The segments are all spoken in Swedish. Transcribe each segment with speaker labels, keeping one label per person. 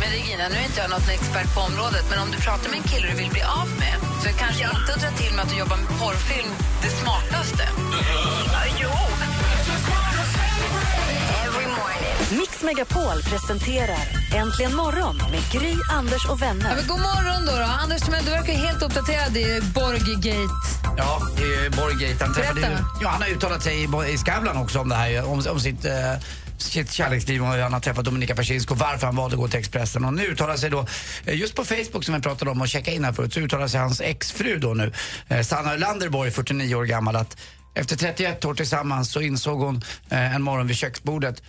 Speaker 1: Men Regina, nu är inte jag någon expert på området men om du pratar med en kille du vill bli av med så är kanske inte att dra till med att du jobbar med porrfilm det smartaste. jo!
Speaker 2: Mix Megapol presenterar Äntligen morgon med Gry, Anders och
Speaker 1: Ja,
Speaker 2: vänner.
Speaker 1: men god morgon då, då. Anders Timell, du verkar ju helt uppdaterad i Borggate.
Speaker 3: Ja, det är ju Borggate. Han, träffade ju,
Speaker 1: Berätta.
Speaker 3: ja, han har uttalat sig i, Bo- i Skavlan också om det här, ju, om, om sitt, eh, sitt kärleksliv och hur han har träffat Dominika Persinsko, varför han valde att gå till Expressen. Och nu uttalar sig då, eh, just på Facebook som jag pratade om och checka in här förut, så uttalar sig hans exfru då nu, eh, Sanna Ölander Borg, 49 år gammal, att efter 31 år tillsammans så insåg hon eh, en morgon vid köksbordet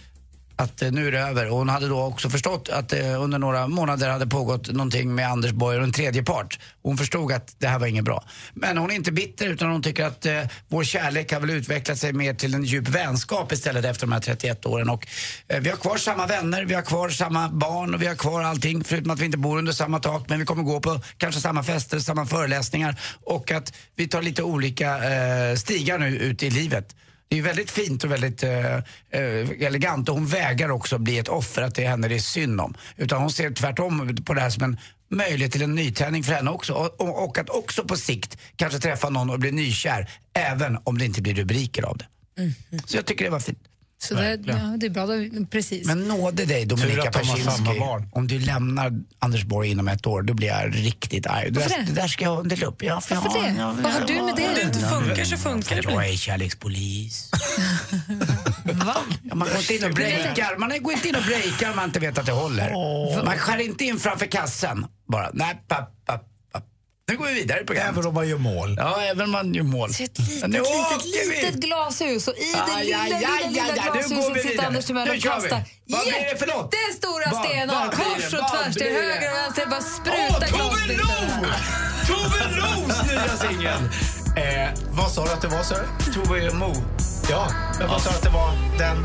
Speaker 3: att eh, nu är det över. Och hon hade då också förstått att det under några månader hade pågått någonting med Anders Borg och en tredje part. Hon förstod att det här var inget bra. Men hon är inte bitter utan hon tycker att eh, vår kärlek har väl utvecklat sig mer till en djup vänskap istället efter de här 31 åren. Och, eh, vi har kvar samma vänner, vi har kvar samma barn och vi har kvar allting förutom att vi inte bor under samma tak men vi kommer gå på kanske samma fester, samma föreläsningar och att vi tar lite olika eh, stigar nu ut i livet. Det är väldigt fint och väldigt eh, eh, elegant och hon vägrar också bli ett offer att det är henne det är synd om. Utan hon ser tvärtom på det här som en möjlighet till en nytändning för henne också. Och, och, och att också på sikt kanske träffa någon och bli nykär även om det inte blir rubriker av det. Så jag tycker det var fint.
Speaker 1: Så det, ja, det är bra, då, precis.
Speaker 3: Men nåde dig Dominika
Speaker 4: att de har samma
Speaker 3: Persinski.
Speaker 4: barn.
Speaker 3: Om du lämnar Anders Borg inom ett år, då blir jag riktigt arg. Det,
Speaker 1: Varför
Speaker 3: där-
Speaker 1: det?
Speaker 3: det där ska jag dela upp. Ja, för
Speaker 1: Varför
Speaker 3: jag,
Speaker 1: det?
Speaker 3: jag-
Speaker 1: Vad har du med det
Speaker 3: jag-
Speaker 1: att göra?
Speaker 5: funkar så funkar det.
Speaker 3: Jag är kärlekspolis.
Speaker 1: Va?
Speaker 3: Ja, man går inte in och breakar. Man går inte in och breakar om man inte vet att det håller. Man skär inte in framför kassen bara. Nej, papp, papp, papp. Nu går vi vidare i programmet.
Speaker 4: Även om man gör mål.
Speaker 3: Ja, även om man gör mål.
Speaker 1: Så ett litet,
Speaker 3: nu
Speaker 1: litet,
Speaker 3: åker
Speaker 1: litet
Speaker 3: vi!
Speaker 1: glashus och i det
Speaker 3: Aj,
Speaker 1: lilla,
Speaker 3: aj,
Speaker 1: lilla,
Speaker 3: aj,
Speaker 1: lilla
Speaker 3: aj, aj, nu går
Speaker 1: glashuset
Speaker 3: vi
Speaker 1: sitter
Speaker 3: vidare.
Speaker 1: Anders Timell
Speaker 3: Nu
Speaker 1: och
Speaker 3: kör vi.
Speaker 1: kastar
Speaker 3: Vad blir det för något?
Speaker 1: jättestora
Speaker 3: Vad-
Speaker 1: stenar
Speaker 3: vad blir det?
Speaker 1: kors och
Speaker 3: Vad
Speaker 1: tvärs till
Speaker 3: blir det?
Speaker 1: höger och vänster. Bara
Speaker 3: Åh,
Speaker 1: spruta
Speaker 3: Tove Lo!
Speaker 1: glasbitar.
Speaker 3: Tove Los nya singel!
Speaker 4: Eh, vad sa du att det var, sa du?
Speaker 3: Tove Mo.
Speaker 4: Ja, men vad sa du att det var? Den...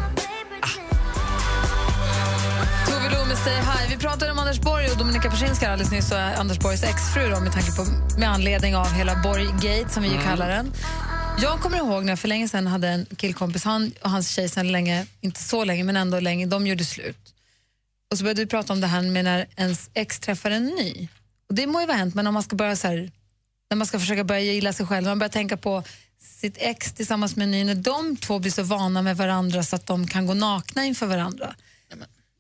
Speaker 1: Tove Lo med Stay High. Vi pratade om Anders Borg och Dominika Persinska alldeles nyss och Anders Borgs exfru då, med, tanke på, med anledning av hela Borggate som vi ju kallar den. Jag kommer ihåg när jag för länge sedan hade en killkompis, han och hans tjej sedan länge, inte så länge men ändå länge, de gjorde slut. Och så började du prata om det här med när ens ex träffar en ny. Och det må ju vara hänt, men om man ska börja så här, när man ska försöka börja gilla sig själv, när man börjar tänka på sitt ex tillsammans med en ny, när de två blir så vana med varandra så att de kan gå nakna inför varandra.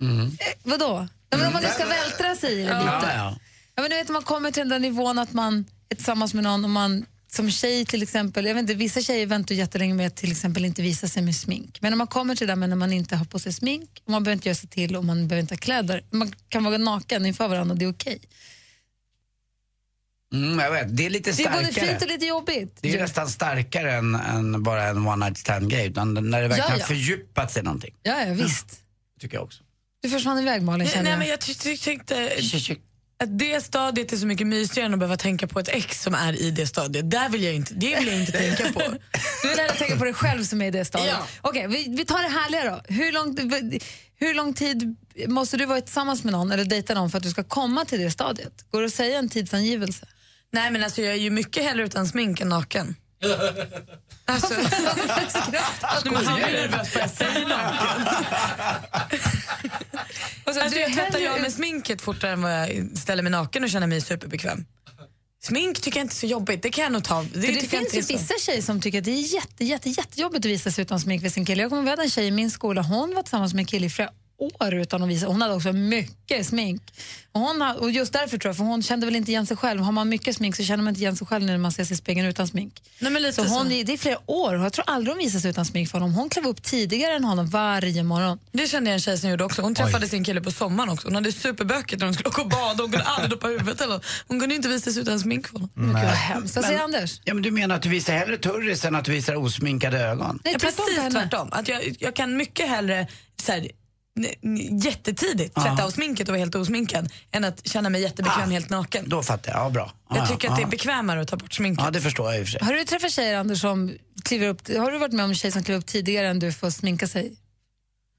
Speaker 1: Eh, vadå? Ja, men om man nu ska vältra sig i det lite.
Speaker 3: Ja, ja.
Speaker 1: Ja, men du vet, man kommer till den där nivån att man är tillsammans med någon och man som tjej till exempel, jag vet inte, vissa tjejer väntar jättelänge med att till exempel inte visa sig med smink. Men när man kommer till det där med när man inte har på sig smink, och man behöver inte göra sig till och man behöver inte ha kläder. Man kan vara naken inför varandra och det är okej.
Speaker 3: Mm, jag vet. Det är lite
Speaker 1: Det är
Speaker 3: starkare.
Speaker 1: både fint och lite jobbigt.
Speaker 3: Det är nästan starkare än, än bara en one night stand grej utan när det verkligen
Speaker 1: Ja,
Speaker 3: har
Speaker 1: ja.
Speaker 3: fördjupat sig någonting.
Speaker 1: Ja, ja, visst.
Speaker 3: Tycker jag också.
Speaker 1: Du försvann iväg Malin känner
Speaker 5: Nej,
Speaker 1: jag.
Speaker 5: men jag ty- ty- tyckte att det stadiet är så mycket mysigare än att behöva tänka på ett ex som är i det stadiet. Där vill jag inte, det vill jag inte tänka på.
Speaker 1: Du vill hellre tänka på dig själv som är i det stadiet.
Speaker 5: Ja.
Speaker 1: Okej, vi, vi tar det härliga då. Hur lång, hur lång tid måste du vara tillsammans med någon eller dejta någon för att du ska komma till det stadiet? Går det att säga en tidsangivelse?
Speaker 5: Nej men alltså jag är ju mycket hellre utan smink än naken. Alltså, Nej, men han blir nervös bara jag säger naken.
Speaker 1: Alltså,
Speaker 5: Alltså,
Speaker 1: du är
Speaker 5: jag tvättar
Speaker 1: hellre
Speaker 5: jag med
Speaker 1: ut-
Speaker 5: sminket fortare än vad jag ställer mig naken och känner mig superbekväm. Smink tycker jag inte är så jobbigt, det kan jag nog ta. Det,
Speaker 1: för det
Speaker 5: tycker jag
Speaker 1: finns
Speaker 5: inte är
Speaker 1: ju
Speaker 5: så-
Speaker 1: vissa tjejer som tycker att det är jätte, jätte, jättejobbigt att visa sig utan smink vid sin kille. Jag kommer ihåg att vi hade en tjej i min skola, hon var tillsammans med en kille i flera år utan att visa. Hon hade också mycket smink. Och, hon har, och just därför tror jag, för hon kände väl inte igen sig själv. Har man mycket smink så känner man inte igen sig själv när man ser sig i spegeln utan smink.
Speaker 5: Nej, men lite
Speaker 1: Så
Speaker 5: så.
Speaker 1: hon, det är flera år och jag tror aldrig hon visade sig utan smink för honom. Hon klev upp tidigare än honom varje morgon.
Speaker 5: Det kände jag en tjej som gjorde också. Hon träffade sin kille på sommaren också. Hon hade superbökigt när de skulle åka och bada. Hon kunde aldrig doppa huvudet eller något. Hon kunde inte visa sig utan smink på honom.
Speaker 1: Gud vad hemskt. Alltså, Vad säger
Speaker 5: Mm.
Speaker 1: Anders?
Speaker 3: Ja, men du menar att du visar hellre turris än att du visar osminkade ögon?
Speaker 1: Nej,
Speaker 5: Ja,
Speaker 1: tvärtom på
Speaker 5: precis
Speaker 1: henne.
Speaker 5: tvärtom. Att jag, jag kan mycket hellre så här, n- n- jättetidigt tvätta av sminket och vara helt osminkad än att känna mig jättebekväm helt naken.
Speaker 3: Då fattar jag. Ja, bra. Ah. Ja,
Speaker 5: Jag tycker
Speaker 3: ja,
Speaker 5: att det är
Speaker 3: ja.
Speaker 5: bekvämare att ta bort sminket.
Speaker 3: Ja, det förstår jag i och för sig.
Speaker 1: Har du träffat tjejer, Anders, som kliver upp, har du varit med om tjejer som kliver upp tidigare än du för att sminka sig?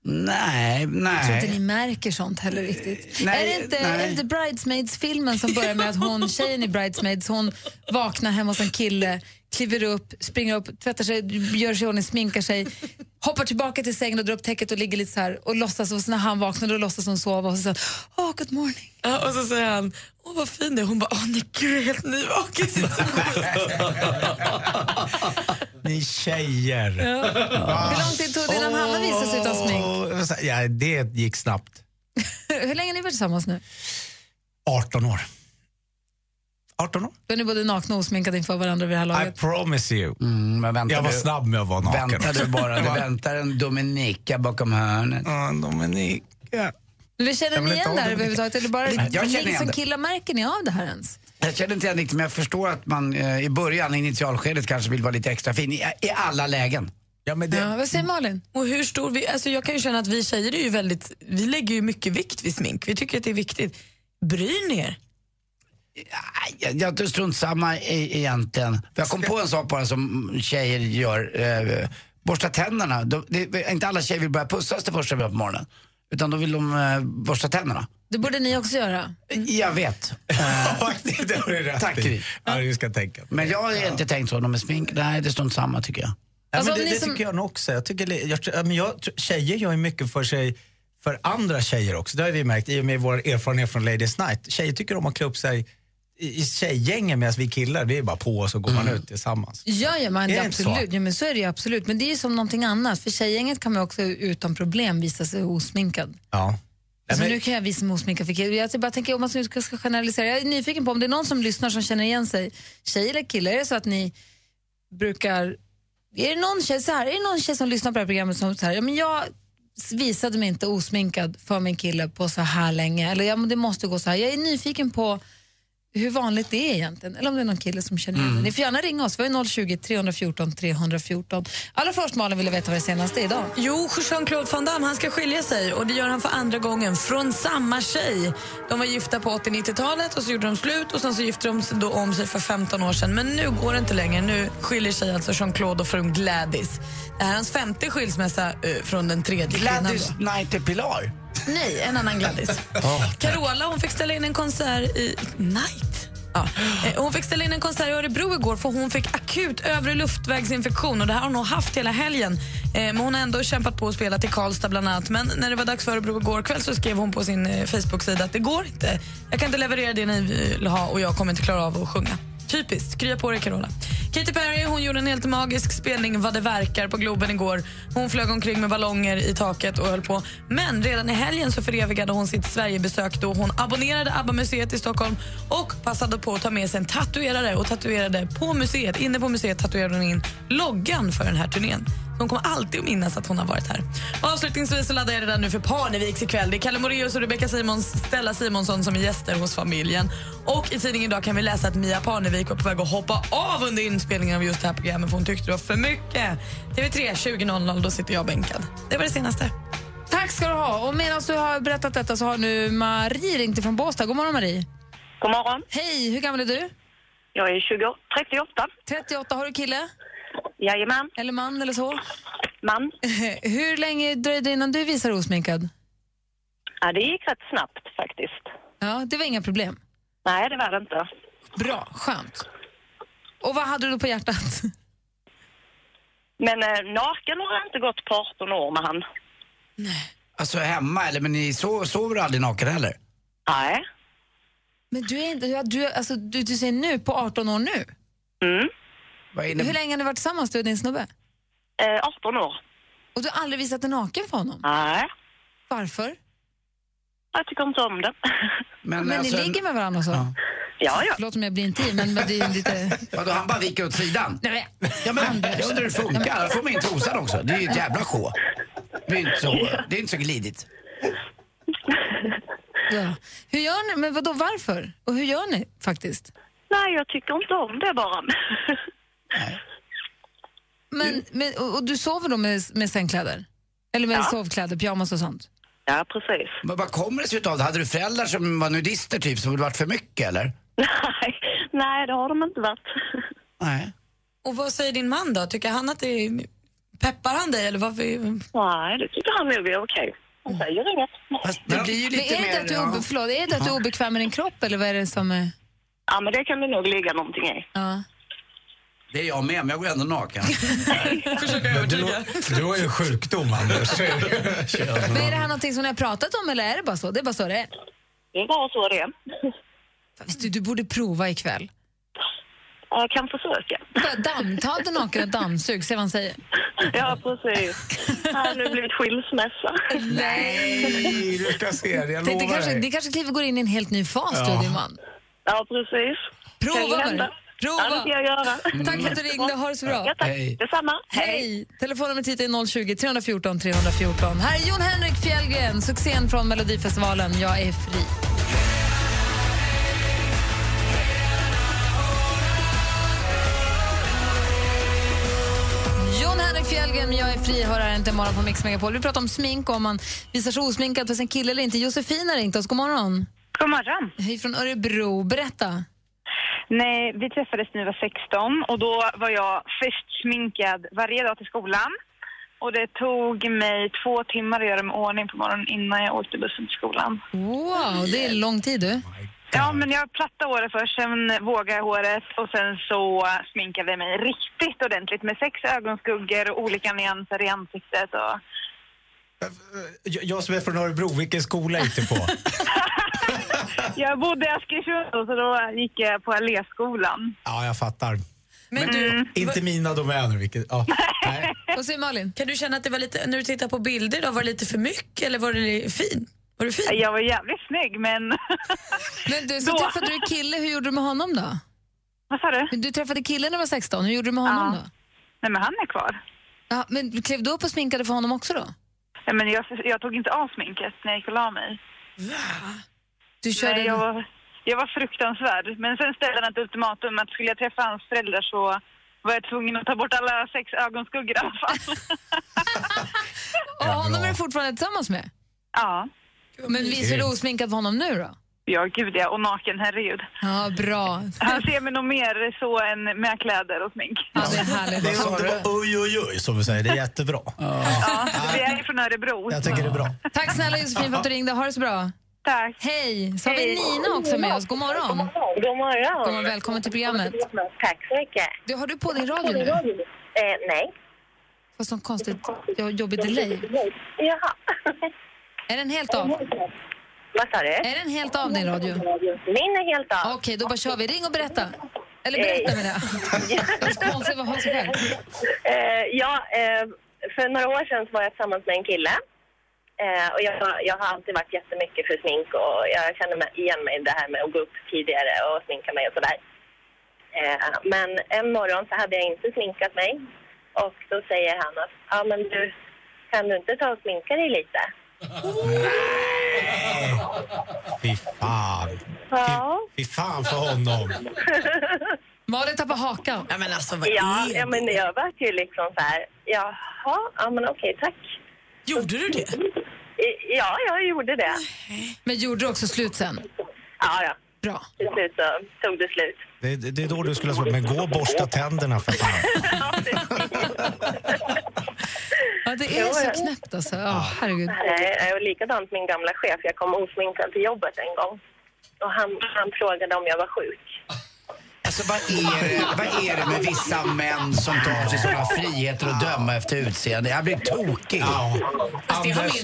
Speaker 3: Nej,
Speaker 1: Jag tror inte ni
Speaker 3: nej.
Speaker 1: märker sånt heller riktigt.
Speaker 3: Nej,
Speaker 1: är, det inte,
Speaker 3: nej.
Speaker 1: är det inte Bridesmaids-filmen som börjar med att hon, tjejen i Bridesmaids, hon vaknar hemma hos en kille, kliver upp, springer upp, tvättar sig, gör sig i ordning, sminkar sig, hoppar tillbaka till sängen och drar upp täcket och ligger lite så här och låtsas, och så när han vaknar då låtsas hon sova och så säger han, oh, good morning.
Speaker 5: Ja, och så säger han, åh vad fin du är. Hon bara, åh nej gud jag är helt nyvaken. Det är så
Speaker 4: Ni
Speaker 5: sjukt.
Speaker 4: tjejer.
Speaker 1: Hur lång tid tog det innan Hanna visade sig utan smink?
Speaker 4: Och- Ja, det gick snabbt.
Speaker 1: Hur länge har ni varit tillsammans nu?
Speaker 4: 18 år. 18 år?
Speaker 1: Då är ni både nakna och osminkade inför varandra vid det här
Speaker 4: I
Speaker 1: laget.
Speaker 4: promise you.
Speaker 3: Mm, men vänta
Speaker 4: Jag var
Speaker 3: du.
Speaker 4: snabb med att vara naken.
Speaker 3: Vänta du bara, det väntar en Dominika bakom hörnet.
Speaker 4: Ja, Dominika.
Speaker 1: Men vi känner
Speaker 4: Jag
Speaker 1: ni
Speaker 4: vill inte
Speaker 1: igen
Speaker 4: ha
Speaker 1: det här
Speaker 4: det.
Speaker 1: överhuvudtaget? Eller bara,
Speaker 3: Jag känner
Speaker 1: ni
Speaker 3: igen
Speaker 1: som
Speaker 3: det.
Speaker 1: killar, märker ni av det här ens?
Speaker 3: Jag känner inte igen riktigt, men jag förstår att man eh, i början, i initialskedet, kanske vill vara lite extra fin i, i alla lägen.
Speaker 4: Ja, men det,
Speaker 1: Ja, vad säger Malin?
Speaker 5: Och hur stor vi, alltså jag kan ju känna att vi tjejer är ju väldigt, vi lägger ju mycket vikt vid smink. Vi tycker att det är viktigt. Bryr ni er?
Speaker 3: Nej, Jag, jag, jag strunt samma e- egentligen. För Jag kom på en sak bara som tjejer gör. Eh, borsta tänderna. De, det, inte alla tjejer vill börja pussas det första vi gör på morgonen. Utan då vill de eh, borsta tänderna.
Speaker 1: Det borde ni också göra.
Speaker 3: Jag vet. Eh,
Speaker 4: det har du rätt
Speaker 3: Tack,
Speaker 4: i.
Speaker 3: Gry.
Speaker 4: Ja, du ska tänka på det.
Speaker 3: Men jag har inte tänkt så. De med smink, nej det strunt samma tycker jag.
Speaker 4: Ja,
Speaker 1: Alltså, om
Speaker 4: men det
Speaker 1: ni
Speaker 4: det
Speaker 1: som-
Speaker 4: tycker jag nog också. Jag tycker, li- jag, tr- ja, men jag, tr- tjejer gör ju mycket för sig för andra tjejer också. Det har vi märkt i och med vår erfarenhet från Ladies Night. Tjejer tycker om att klä upp sig i, i tjejgängen medan vi killar, vi är bara på oss och går man ut tillsammans.
Speaker 1: Ja, ja, men
Speaker 4: Är
Speaker 1: det
Speaker 4: det inte så?
Speaker 1: absolut. Ja, men så är det ju absolut. Men det är ju som någonting annat. För tjejgänget kan man ju också utan problem visa sig osminkad.
Speaker 4: Ja. Nej,
Speaker 1: Alltså,
Speaker 4: men,
Speaker 1: Nu kan jag visa mig osminkad för killar. Jag typ bara tänker om man nu ska ska generalisera. Jag är nyfiken på om det är någon som lyssnar som känner igen sig. Tjejer eller killar, är det så att ni brukar... Är det någon tjej, så här, är det någon tjej som lyssnar på det här programmet som så här, ja, men jag visade mig inte osminkad för min kille på så här länge. Eller ja, men det måste gå så här. Jag är nyfiken på hur vanligt det är egentligen. Eller om det är någon kille som känner igen
Speaker 4: Mm.
Speaker 1: det. Ni får gärna ringa oss. Vi har 020 314 314. Allra först Malin ville veta vad det senaste är idag.
Speaker 5: Jo, Jean-Claude Van Damme han ska skilja sig och det gör han för andra gången från samma tjej. De var gifta på 80-90-talet och så gjorde de slut och sen så gifte de sig då om sig för 15 år sedan. Men nu går det inte längre. Nu skiljer sig alltså Jean-Claude och frun Gladys. Det här är hans femte skilsmässa eh, från den tredje kvinnan.
Speaker 3: Gladys
Speaker 5: då.
Speaker 3: Night är Pilar.
Speaker 5: Nej, en annan Gladys. Carola hon fick ställa in en konsert i... Night? Ja. Eh, Hon fick ställa in en konsert i Örebro igår för hon fick akut övre luftvägsinfektion och det här har hon nog haft hela helgen. Eh, Men hon har ändå kämpat på och spelat i Karlstad bland annat. Men när det var dags för Örebro igår kväll så skrev hon på sin eh, Facebook-sida att det går inte. Jag kan inte leverera det ni eh, vill ha och jag kommer inte klara av att sjunga. Typiskt, krya på dig Carola. Katy Perry hon gjorde en helt magisk spelning vad det verkar på Globen igår. Hon flög omkring med ballonger i taket och höll på. Men redan i helgen så förevigade hon sitt Sverigebesök då hon abonnerade ABBA-museet i Stockholm och passade på att ta med sig en tatuerare och tatuerade på museet. Inne på museet tatuerade hon in loggan för den här turnén. Hon kommer alltid att minnas att hon har varit här. Och avslutningsvis så laddar jag redan nu för Parneviks ikväll. Det är Kalle Moraeus och Rebecca Simons, Stella Simonsson som är gäster hos familjen. Och i tidningen idag kan vi läsa att Mia Parnevik var på väg att hoppa av under inspelningen av just det här programmet för hon tyckte det var för mycket. TV3 20.00, då sitter jag bänkad. Det var det senaste.
Speaker 1: Tack ska du ha. Och medan du har berättat detta så har nu Marie ringt ifrån Båstad. God morgon Marie.
Speaker 6: God morgon.
Speaker 1: Hej, hur gammal är du?
Speaker 6: Jag är 20, 38.
Speaker 1: 38, har du kille?
Speaker 6: Jajamän.
Speaker 1: Eller man eller så?
Speaker 6: Man.
Speaker 1: Hur länge dröjde det innan du visade osminkad?
Speaker 6: Ja, det gick rätt snabbt faktiskt.
Speaker 1: Ja, det var inga problem.
Speaker 6: Nej, det var det inte.
Speaker 1: Bra, skönt. Och vad hade du då på hjärtat?
Speaker 6: Men eh, naken har jag inte gått på 18 år med han.
Speaker 3: Alltså hemma, eller men ni so- sover aldrig naken heller?
Speaker 6: Nej.
Speaker 1: Men du är inte, ja, du, alltså, du, du säger nu, på 18 år nu.
Speaker 6: Mm.
Speaker 3: Vad är
Speaker 1: Hur
Speaker 3: ni-
Speaker 1: länge har ni varit tillsammans du och din snubbe?
Speaker 6: Eh, 18 år.
Speaker 1: Och du har aldrig visat dig naken för honom?
Speaker 6: Nej.
Speaker 1: Varför?
Speaker 6: Jag tycker inte om det.
Speaker 3: men
Speaker 1: Men
Speaker 3: alltså,
Speaker 1: ni ligger med varandra och så?
Speaker 3: Ja.
Speaker 6: ja, ja.
Speaker 1: Förlåt om jag blir intim, men men det är ju lite...
Speaker 3: Vadå, han bara viker åt sidan?
Speaker 1: Nej, men-
Speaker 3: Ja, men, jag undrar hur det funkar. Här får man in trosan också. Det är ju ett jävla sjå. Det är inte så, det är inte så glidigt.
Speaker 1: Ja. Hur gör ni? Men vadå, varför? Och hur gör ni faktiskt?
Speaker 6: Nej, jag tycker inte om det bara.
Speaker 4: Mm.
Speaker 1: Men, men, och, och du sover då med, med sängkläder? Eller med
Speaker 6: Ja.
Speaker 1: sovkläder, pyjamas och sånt?
Speaker 6: Ja, precis.
Speaker 3: Men vad kommer det sig utav det? Hade du föräldrar som var nudister typ, som det varit för mycket eller?
Speaker 6: Nej, nej, det har de inte varit.
Speaker 3: Nej.
Speaker 5: Och vad säger din man då? Tycker han att det är... Peppar han dig eller varför?
Speaker 6: Nej, det tycker han nog är okej. Han säger inget.
Speaker 3: Fast det blir ju
Speaker 1: Men
Speaker 3: lite
Speaker 1: är det
Speaker 3: mer...
Speaker 1: inte att du, är obe,
Speaker 3: ja.
Speaker 1: förlåt, är det att du är obekväm med din kropp eller vad är det som är...
Speaker 6: Ja, men det kan det nog ligga någonting i.
Speaker 1: Ja.
Speaker 3: Det är jag med, men jag går ändå naken.
Speaker 4: Du, du har ju en sjukdom, Anders.
Speaker 1: Men
Speaker 4: Mm.
Speaker 1: är det här någonting som ni har pratat om eller är det bara så? Det är bara så det är.
Speaker 6: Det är bara så det är.
Speaker 1: Fast Du, du borde prova ikväll.
Speaker 6: Jag kan försöka.
Speaker 1: Bara damm, ta den naken och dammsug, se vad han säger.
Speaker 6: Ja, precis. Här nu blivit skilsmässa.
Speaker 3: Nej, du ska se det. Jag
Speaker 1: Tänk, det,
Speaker 3: lovar
Speaker 1: kanske, det
Speaker 3: dig.
Speaker 1: kanske kliver går in i en helt ny fas du och din man.
Speaker 6: Ja, precis. Kan
Speaker 1: Prova
Speaker 6: ju
Speaker 1: bara.
Speaker 6: hända. Ja, det
Speaker 1: Prova. Mm.
Speaker 6: ska jag göra. Mm.
Speaker 1: Tack för att du ringde, ha det så bra.
Speaker 6: Ja, tack.
Speaker 3: Hej.
Speaker 6: Detsamma.
Speaker 1: Hej! Telefonnumret hit är 020 314 314. Här är Jon Henrik Fjällgren, succén från Melodifestivalen Jag är fri. Jon Henrik Fjällgren med Jag är fri hör här inte imorgon på Mix Megapol. Vi pratar om smink och om man visar sig osminkad för sin kille eller inte. Josefin har ringt oss. God morgon.
Speaker 6: God morgon.
Speaker 1: Hej från Örebro. Berätta.
Speaker 6: Nej, vi träffades när vi var 16 och då var jag först sminkad varje dag till skolan. Och det tog mig två timmar att göra mig i ordning på morgonen innan jag åkte bussen till skolan.
Speaker 1: Wow, det är lång tid du.
Speaker 6: Ja, men jag plattade håret först, sen vågade jag håret och sen så sminkade jag mig riktigt ordentligt med sex ögonskuggor och olika nyanser i ansiktet. Och...
Speaker 4: Jag, jag som är från Örebro, vilken skola gick du på?
Speaker 6: Jag bodde i Askersund så då gick jag på Alléskolan. Mm.
Speaker 4: Ja, jag fattar.
Speaker 5: Men du,
Speaker 4: Inte mina domäner. Vilket, ja. Nej.
Speaker 1: Vad säger Malin?
Speaker 5: kan du känna att det var lite, när du tittar på bilder idag, var det lite för mycket eller var det fin? Var du fin?
Speaker 6: Jag var jävligt snygg, men...
Speaker 1: Men du, så
Speaker 6: Då.
Speaker 1: träffade du en kille, hur gjorde du med honom då?
Speaker 6: Vad sa du?
Speaker 1: Men Du träffade killen när du var 16, hur gjorde du med honom
Speaker 6: Ja.
Speaker 1: då?
Speaker 6: Nej, men han är kvar.
Speaker 1: Ja, men klev du upp och sminkade för honom också då?
Speaker 6: Nej, men jag, jag tog inte av sminket när jag gick och la mig.
Speaker 1: Du körde
Speaker 6: Nej, jag, var, jag var fruktansvärd. Men sen ställde han ett ultimatum att skulle jag träffa hans föräldrar så var jag tvungen att ta bort alla sex ögonskuggor i alla fall.
Speaker 1: och honom är du fortfarande tillsammans med?
Speaker 6: ja.
Speaker 1: Men visar du osminkad för honom nu då?
Speaker 6: Ja, gud ja. Och naken, herregud.
Speaker 1: Ja, bra.
Speaker 6: Han ser mig nog mer så än med kläder och smink.
Speaker 1: Ja, det är
Speaker 4: Det är
Speaker 1: härligt.
Speaker 4: som det var oj, oj, oj, som vi säger. Det är jättebra.
Speaker 6: Ja, vi är ju från Örebro.
Speaker 4: Jag tycker det är bra.
Speaker 1: Tack snälla Josefin för att du ringde, ha det så bra.
Speaker 6: Tack.
Speaker 1: Hej! Så har vi
Speaker 6: Hej.
Speaker 1: Nina också med oss, god morgon. God
Speaker 6: God morgon.
Speaker 1: morgon, Välkommen till programmet.
Speaker 6: Tack så mycket. eh,
Speaker 1: Du, har du på din radio nu?
Speaker 6: nej.
Speaker 1: Fast sån konstigt, jag har jobbig delay.
Speaker 6: Jaha.
Speaker 1: Är den helt av?
Speaker 6: Vad sa du?
Speaker 1: Är den helt av din radio?
Speaker 6: Min är helt av.
Speaker 1: Okej, då bara kör vi. Ring och berätta. Eller berätta med det. Konstigt vad ha sig själv.
Speaker 6: Eh, ja, eh, för några år sedan så var jag tillsammans med en kille. Eh, och jag, jag har alltid varit jättemycket för smink och jag känner mig igen mig i det här med att gå upp tidigare och sminka mig och sådär. Eh, men en morgon så hade jag inte sminkat mig och då säger han att ja men du, kan du inte ta och sminka dig lite?
Speaker 4: Fy fan.
Speaker 6: Ja.
Speaker 4: Fy fan för honom.
Speaker 1: Malin tappar hakan.
Speaker 5: Ja, men alltså, vad
Speaker 6: Ja,
Speaker 5: är
Speaker 6: ja
Speaker 5: det?
Speaker 6: men jag var ju liksom så här, jaha, ja men okej tack.
Speaker 5: Gjorde du det?
Speaker 6: I- Ja, jag gjorde det.
Speaker 1: Men gjorde du också slut sen?
Speaker 6: Ja, ja.
Speaker 1: Bra.
Speaker 6: Till slut så tog det slut.
Speaker 4: Det, det är då du skulle ha sagt, men gå och borsta tänderna för fan.
Speaker 1: Ja, det är så knäppt alltså. Ja, herregud.
Speaker 6: Nej, nej, och likadant min gamla chef. Jag kom osminkad till jobbet en gång. Och han, han frågade om jag var sjuk.
Speaker 3: Alltså, vad, är det, vad är det med vissa män som tar sig sådana friheter att döma efter utseende? Jag blir tokig.
Speaker 4: Ja.
Speaker 5: det har
Speaker 4: Anders,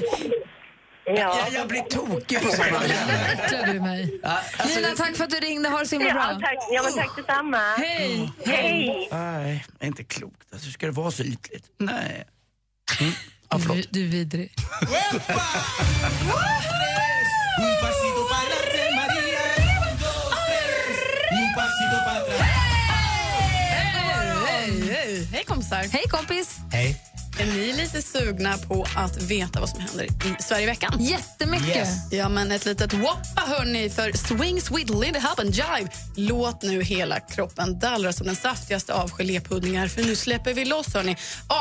Speaker 6: Ja,
Speaker 3: Jag, jag blir tokig på sådana män.
Speaker 1: Äcklade du mig?
Speaker 3: Ja, alltså,
Speaker 1: Nina, tack för att du ringde. Ha det så himla
Speaker 6: ja,
Speaker 1: bra.
Speaker 6: tack, ja men tack detsamma.
Speaker 1: Hej!
Speaker 6: Hej!
Speaker 3: Nej, det är inte klokt. Alltså, hur ska det vara så ytligt? Nej.
Speaker 4: Mm.
Speaker 1: Du, du är vidrig.
Speaker 5: Hej, hej, hej. Hej kompisar.
Speaker 1: Hej kompis!
Speaker 3: Mm.
Speaker 4: Hej.
Speaker 7: Är ni lite sugna på att veta vad som händer i Sverigeveckan?
Speaker 1: Jättemycket.
Speaker 3: Yes.
Speaker 7: Ja, men ett litet woppa hörni för Swing Sweet Lindy Hop and Jive. Låt nu hela kroppen dallra som den saftigaste av gelépuddingar för nu släpper vi loss hörni.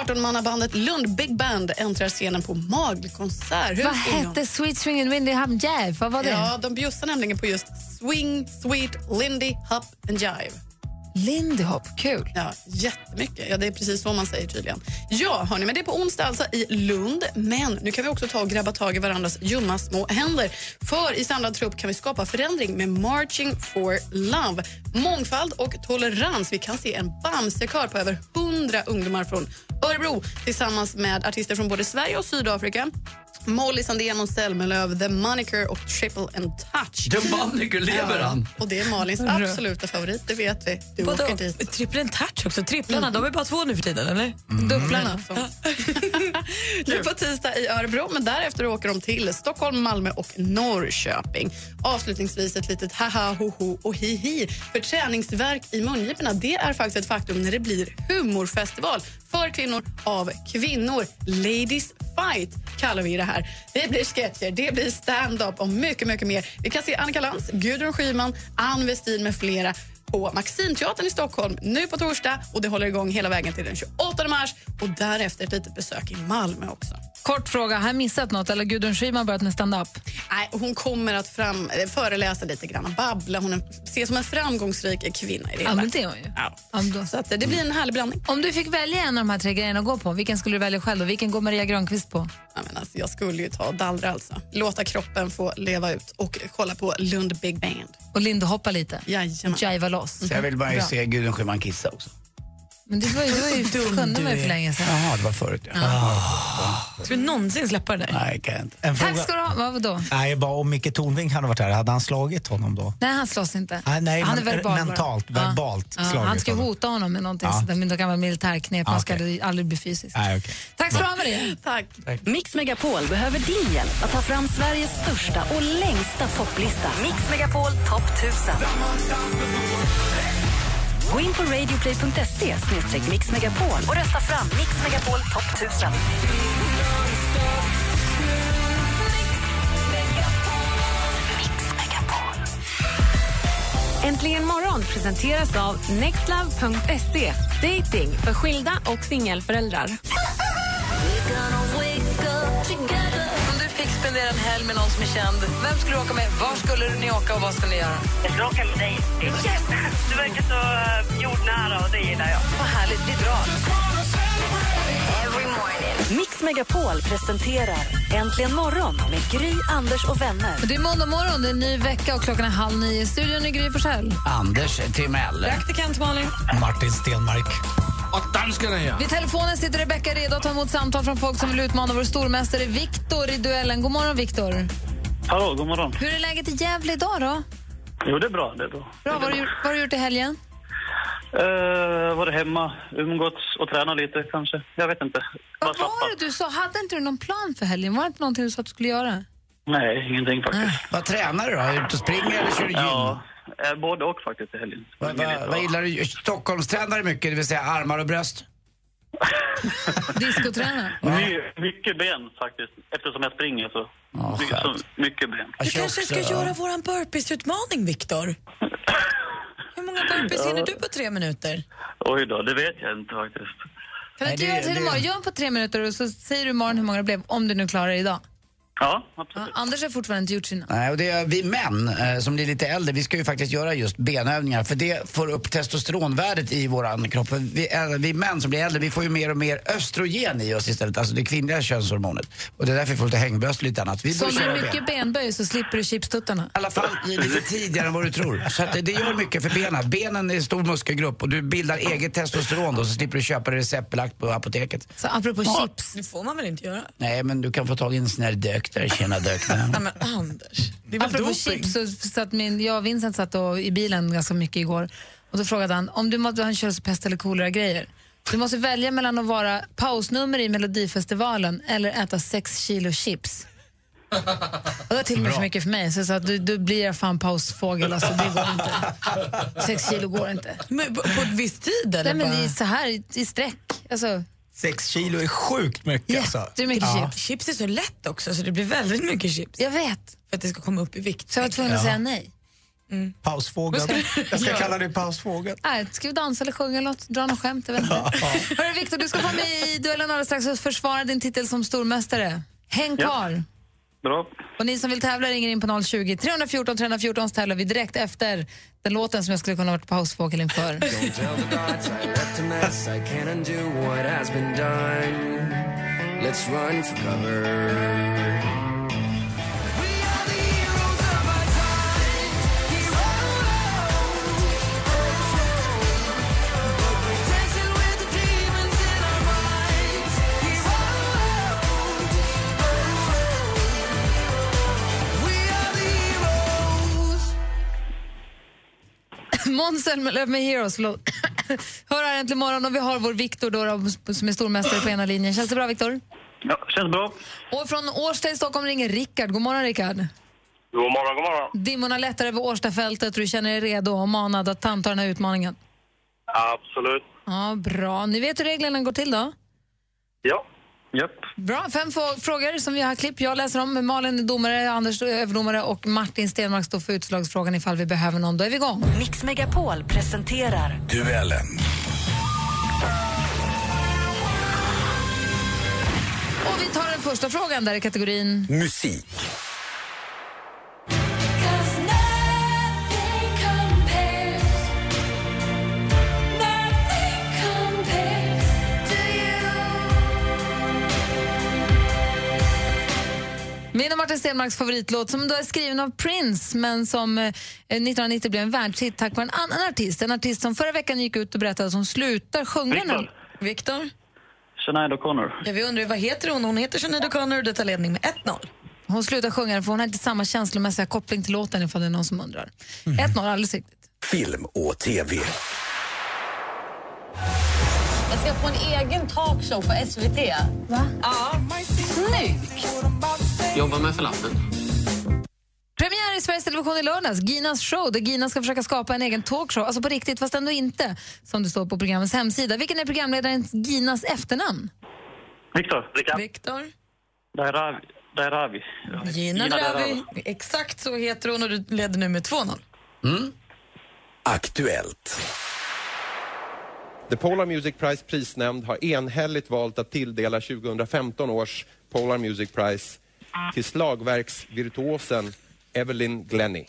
Speaker 7: 18-mannabandet Lund Big Band äntrar scenen på Magelkonsert. Hur
Speaker 1: Vad
Speaker 7: ska jag-
Speaker 1: hette Sweet Swing and Windy Hum Jive? Vad var det?
Speaker 7: Ja, de bjussar nämligen på just Swing Sweet Lindy Hop and Jive.
Speaker 1: Lindy Hop, kul.
Speaker 7: Ja, jättemycket. Ja, det är precis så man säger tydligen. Ja, hörni, men det är på onsdag alltså i Lund. Men nu kan vi också ta och grabba tag i varandras ljumma små händer. För i samlad trupp kan vi skapa förändring med Marching for Love. Mångfald och tolerans. Vi kan se en Bamsekör på över 100 ungdomar från Örebro tillsammans med artister från både Sverige och Sydafrika. Molly Sandén och Selmelöv, The Moniker och Triple and Touch.
Speaker 3: The Moniker, lever han?
Speaker 7: Och det är Malins absoluta favorit, det vet vi. Du
Speaker 5: Vadå?
Speaker 7: åker dit. Mm.
Speaker 5: Trippeln touch också. Tripplarna, de är bara två nu för tiden, eller?
Speaker 7: Dubblarna. nu på tisdag i Örebro, men därefter åker de till Stockholm, Malmö och Norrköping. Avslutningsvis ett litet haha, hoho och hihi. För träningsverk i mungiporna, det är faktiskt ett faktum när det blir humorfestival för kvinnor av kvinnor. Ladies Fight kallar vi det här. Det blir sketcher, det blir stand-up och mycket, mycket mer. Vi kan se Annika Lantz, Gudrun Schyman, Ann Westin med flera på Maximteatern i Stockholm nu på torsdag och det håller igång hela vägen till den 28 mars och därefter ett litet besök i Malmö också.
Speaker 1: Kort fråga, har jag missat något eller Gudrun Schyman börjat med stand-up?
Speaker 7: Nej, hon kommer att fram, eh, föreläsa lite grann, babbla. Hon är- ses som en framgångsrik kvinna i det
Speaker 1: Ja,
Speaker 7: hela.
Speaker 1: men det är hon ju.
Speaker 7: Ja.
Speaker 1: Ja, men då-
Speaker 7: Så att eh, det blir en härlig blandning.
Speaker 1: Om du fick välja en av de här tre grejerna att gå på, vilken skulle du välja själv och vilken går Maria Granqvist på?
Speaker 7: Ja, men alltså, jag skulle ju ta och dallra alltså. Låta kroppen få leva ut och kolla på Lund Big Band.
Speaker 1: Och Lindy hoppa lite?
Speaker 7: Jajamän.
Speaker 1: Jiva loss?
Speaker 3: Så jag vill bara
Speaker 1: Bra.
Speaker 3: se Gudrun Schyman kissa också.
Speaker 1: Men det var ju, det var ju kunde man ju för länge sedan.
Speaker 3: Jaha, det var förut ja. Ah,
Speaker 5: Ska vi någonsin släppa det där?
Speaker 3: nej, kan jag inte.
Speaker 4: En
Speaker 1: Tack
Speaker 4: fråga,
Speaker 1: ska du ha. Vad- Vadå?
Speaker 4: nej, bara om Micke Tornving hade varit här, hade han slagit honom då?
Speaker 1: Nej, han slåss inte.
Speaker 4: Ah, nej,
Speaker 1: han
Speaker 4: men
Speaker 1: bara.
Speaker 4: mentalt, verbalt
Speaker 1: ja.
Speaker 4: slagit
Speaker 1: Han ska ju
Speaker 4: honom.
Speaker 1: hota honom med någonting,
Speaker 4: Ja.
Speaker 1: sådär, med något gammalt militärknep. Han ska
Speaker 4: okej.
Speaker 1: ju aldrig bli fysisk.
Speaker 4: Nej, okej.
Speaker 1: Tack ska du ha, Maria.
Speaker 7: Tack.
Speaker 2: Mix Megapol behöver din hjälp att ta fram Sveriges största och längsta topplista. Mix Megapol topp 1000. Gå in på radioplay.se snedstreck Mix Megapol och rösta fram Mix Megapol topp 1000.
Speaker 8: Äntligen morgon presenteras av nextlove.se. Dating för skilda och singelföräldrar.
Speaker 1: Om du fick spendera en helg med någon som är känd, vem skulle du åka med? Var skulle ni åka och vad skulle ni göra?
Speaker 6: Jag skulle åka med dig. Yes! Du verkar så eh, jordnära och det gillar jag.
Speaker 1: Vad härligt, vi drar.
Speaker 2: Mix Megapol presenterar Äntligen morgon med Gry, Anders och vänner.
Speaker 1: Det är måndag morgon, det är en ny vecka och klockan är halv nio. Studion är Gry Forssell.
Speaker 3: Anders Timell.
Speaker 5: Praktikant Malin.
Speaker 4: Martin Stenmark.
Speaker 1: Vid telefonen sitter Rebecka redo att ta emot samtal från folk som vill utmana vår stormästare Viktor i duellen. God morgon, Viktor.
Speaker 6: Hallå, god morgon.
Speaker 1: Hur är läget i Gävle idag då?
Speaker 6: Jo, det är bra. Det är bra.
Speaker 1: Bra, vad har du, gjort- vad har du gjort i helgen?
Speaker 6: Uh, varit hemma, umgåtts och tränat lite kanske. Jag vet inte.
Speaker 1: Vad var det du sa? Hade inte du någon plan för helgen? Var det inte någonting du sa att du skulle göra?
Speaker 6: Nej, ingenting faktiskt.
Speaker 3: Vad tränar du då? Är du ute och springer eller
Speaker 1: Ah,
Speaker 3: kör du gym?
Speaker 6: Ja, eh, både och faktiskt i helgen.
Speaker 3: Vad, vad, vad gillar du? Stockholmstränar du mycket, det vill säga armar och bröst?
Speaker 1: Discotränare?
Speaker 6: My, mycket ben faktiskt, eftersom jag springer så.
Speaker 3: Ja,
Speaker 6: My, så
Speaker 3: skönt.
Speaker 6: mycket ben.
Speaker 3: Jag
Speaker 5: Du
Speaker 3: kör
Speaker 5: kanske
Speaker 3: också,
Speaker 5: ska
Speaker 3: ja.
Speaker 5: göra vår burpees-utmaning, Viktor? Hur många burpees hinner du på tre minuter?
Speaker 6: Oj då, det vet jag inte faktiskt.
Speaker 1: Kan du
Speaker 3: Nej,
Speaker 1: inte
Speaker 3: det-
Speaker 1: göra det till
Speaker 3: det-
Speaker 1: imorgon? Gör den på tre minuter och så säger du imorgon hur många det blev, om du nu klarar det idag.
Speaker 6: Ja,
Speaker 1: Ja,
Speaker 6: absolut.
Speaker 1: Anders har fortfarande inte gjort sina.
Speaker 3: Nej, och det är vi män eh, som blir lite äldre, vi ska ju faktiskt göra just benövningar för det får upp testosteronvärdet i våran kropp. För Vi, äh, vi män som blir äldre, vi får ju mer och mer östrogen i oss istället, alltså det kvinnliga könshormonet. Och det är därför vi får lite hängböst och lite annat. Vi
Speaker 1: Så om du
Speaker 3: borde köra
Speaker 1: är mycket
Speaker 3: ben.
Speaker 1: benböj så slipper du chipstuttarna.
Speaker 3: I alla fall i lite tidigare än vad du tror. Så att det- det gör mycket för benen. Benen är en stor muskelgrupp och du bildar eget testosteron då så slipper du köpa det receptbelagt på apoteket.
Speaker 1: Så apropå chips.
Speaker 5: Det får man väl inte göra?
Speaker 3: Nej men du kan få tag i en sån här dök där, tjena dök där.
Speaker 5: Nej, men Anders. Det är väl
Speaker 1: Apropå
Speaker 5: doping?
Speaker 1: chips så satt min, jag och Vincent satt och, i bilen ganska mycket igår och då frågade han om du måste, han kör så pest eller kolera grejer. Du måste välja mellan att vara pausnummer i Melodifestivalen eller äta sex kilo chips. Och det var till och med för mycket för mig, så jag sa att du, du blir jag fan pausfågel, alltså det går inte. Sex kilo går inte.
Speaker 5: Men på, på ett visst tid, eller?
Speaker 1: Nej men
Speaker 5: bara?
Speaker 1: det är så här i, i sträck, alltså
Speaker 4: Sex kilo är sjukt mycket alltså.
Speaker 1: Jättemycket
Speaker 4: Ja.
Speaker 1: chips.
Speaker 5: Chips är så lätt också så det blir väldigt mycket chips.
Speaker 1: Jag vet.
Speaker 5: För att det ska komma upp i vikt.
Speaker 1: Så jag var tvungen att
Speaker 4: Ja.
Speaker 1: säga nej.
Speaker 4: Pausfågeln.
Speaker 1: Vad ska du
Speaker 4: Jag ska
Speaker 1: göra?
Speaker 4: kalla dig pausfågeln.
Speaker 1: Nej, ska vi dansa eller sjunga eller något? Dra något skämt? Jag vet inte. Hörru, Viktor, du ska få med i duellen alldeles strax och försvara din titel som stormästare. Häng kvar!
Speaker 9: Bra.
Speaker 1: Och ni som vill tävla ringer in på 020 314 314 så tävlar vi direkt efter den låten som jag skulle kunna ha varit pausfågel inför.
Speaker 10: Don't tell the gods I left a mess. I can't undo what has been done. Let's run for cover.
Speaker 1: Måns Zelmerlöw med Heroes, förlåt. Hör här äntligen morgon och vi har vår Viktor då, då, som är stormästare på ena linjen. Känns det bra Viktor?
Speaker 9: Ja, känns bra.
Speaker 1: Och från Årsta i Stockholm ringer Rickard. God morgon Rickard.
Speaker 9: God morgon, god morgon.
Speaker 1: Dimmorna lättar över Årstafältet och du känner dig redo och manad att anta den här utmaningen.
Speaker 9: Absolut.
Speaker 1: Ja, bra. Ni vet hur reglerna går till då?
Speaker 9: Ja. Japp.
Speaker 1: Bra, fem få- frågor som vi har klipp. Jag läser om. Malin är domare, Anders är överdomare och Martin Stenmark står för utslagsfrågan ifall vi behöver någon. Då är vi igång.
Speaker 2: Mix Megapol presenterar
Speaker 3: Duellen.
Speaker 1: Och vi tar den första frågan där i kategorin...
Speaker 11: Musik.
Speaker 1: Min och Martin Stenmarks favoritlåt som då är skriven av Prince men som eh, 1990 blev en världshit tack vare en annan artist. En artist som förra veckan gick ut och berättade att hon slutar sjunga nu.
Speaker 9: Viktor.
Speaker 5: Viktor?
Speaker 9: Sinéad O'Connor.
Speaker 5: Ja, vi undrar ju, vad heter hon? Hon heter Sinéad O'Connor och det tar ledning med 1-0.
Speaker 1: Hon slutar sjunga den för hon har inte samma känslomässiga koppling till låten ifall det är någon som undrar.
Speaker 5: Mm.
Speaker 1: 1-0 alldeles riktigt.
Speaker 11: Film och TV.
Speaker 12: Jag ska få en egen talkshow på SVT. Va? Ja. Snyggt!
Speaker 13: Jobba med falafeln.
Speaker 1: Premiär i Sveriges Television i lördags, Ginas show, där Gina ska försöka skapa en egen talkshow, alltså på riktigt fast ändå inte, som det står på programmets hemsida. Vilken är programledaren Ginas efternamn?
Speaker 9: Viktor.
Speaker 5: Viktor?
Speaker 9: Dairavi. Dairavi.
Speaker 5: Gina Dravi. Exakt så heter hon och du leder nu med 2-0.
Speaker 11: Aktuellt.
Speaker 14: The Polar Music Prize prisnämnd har enhälligt valt att tilldela 2015 års Polar Music Prize till slagverksvirtuosen Evelyn Glennie.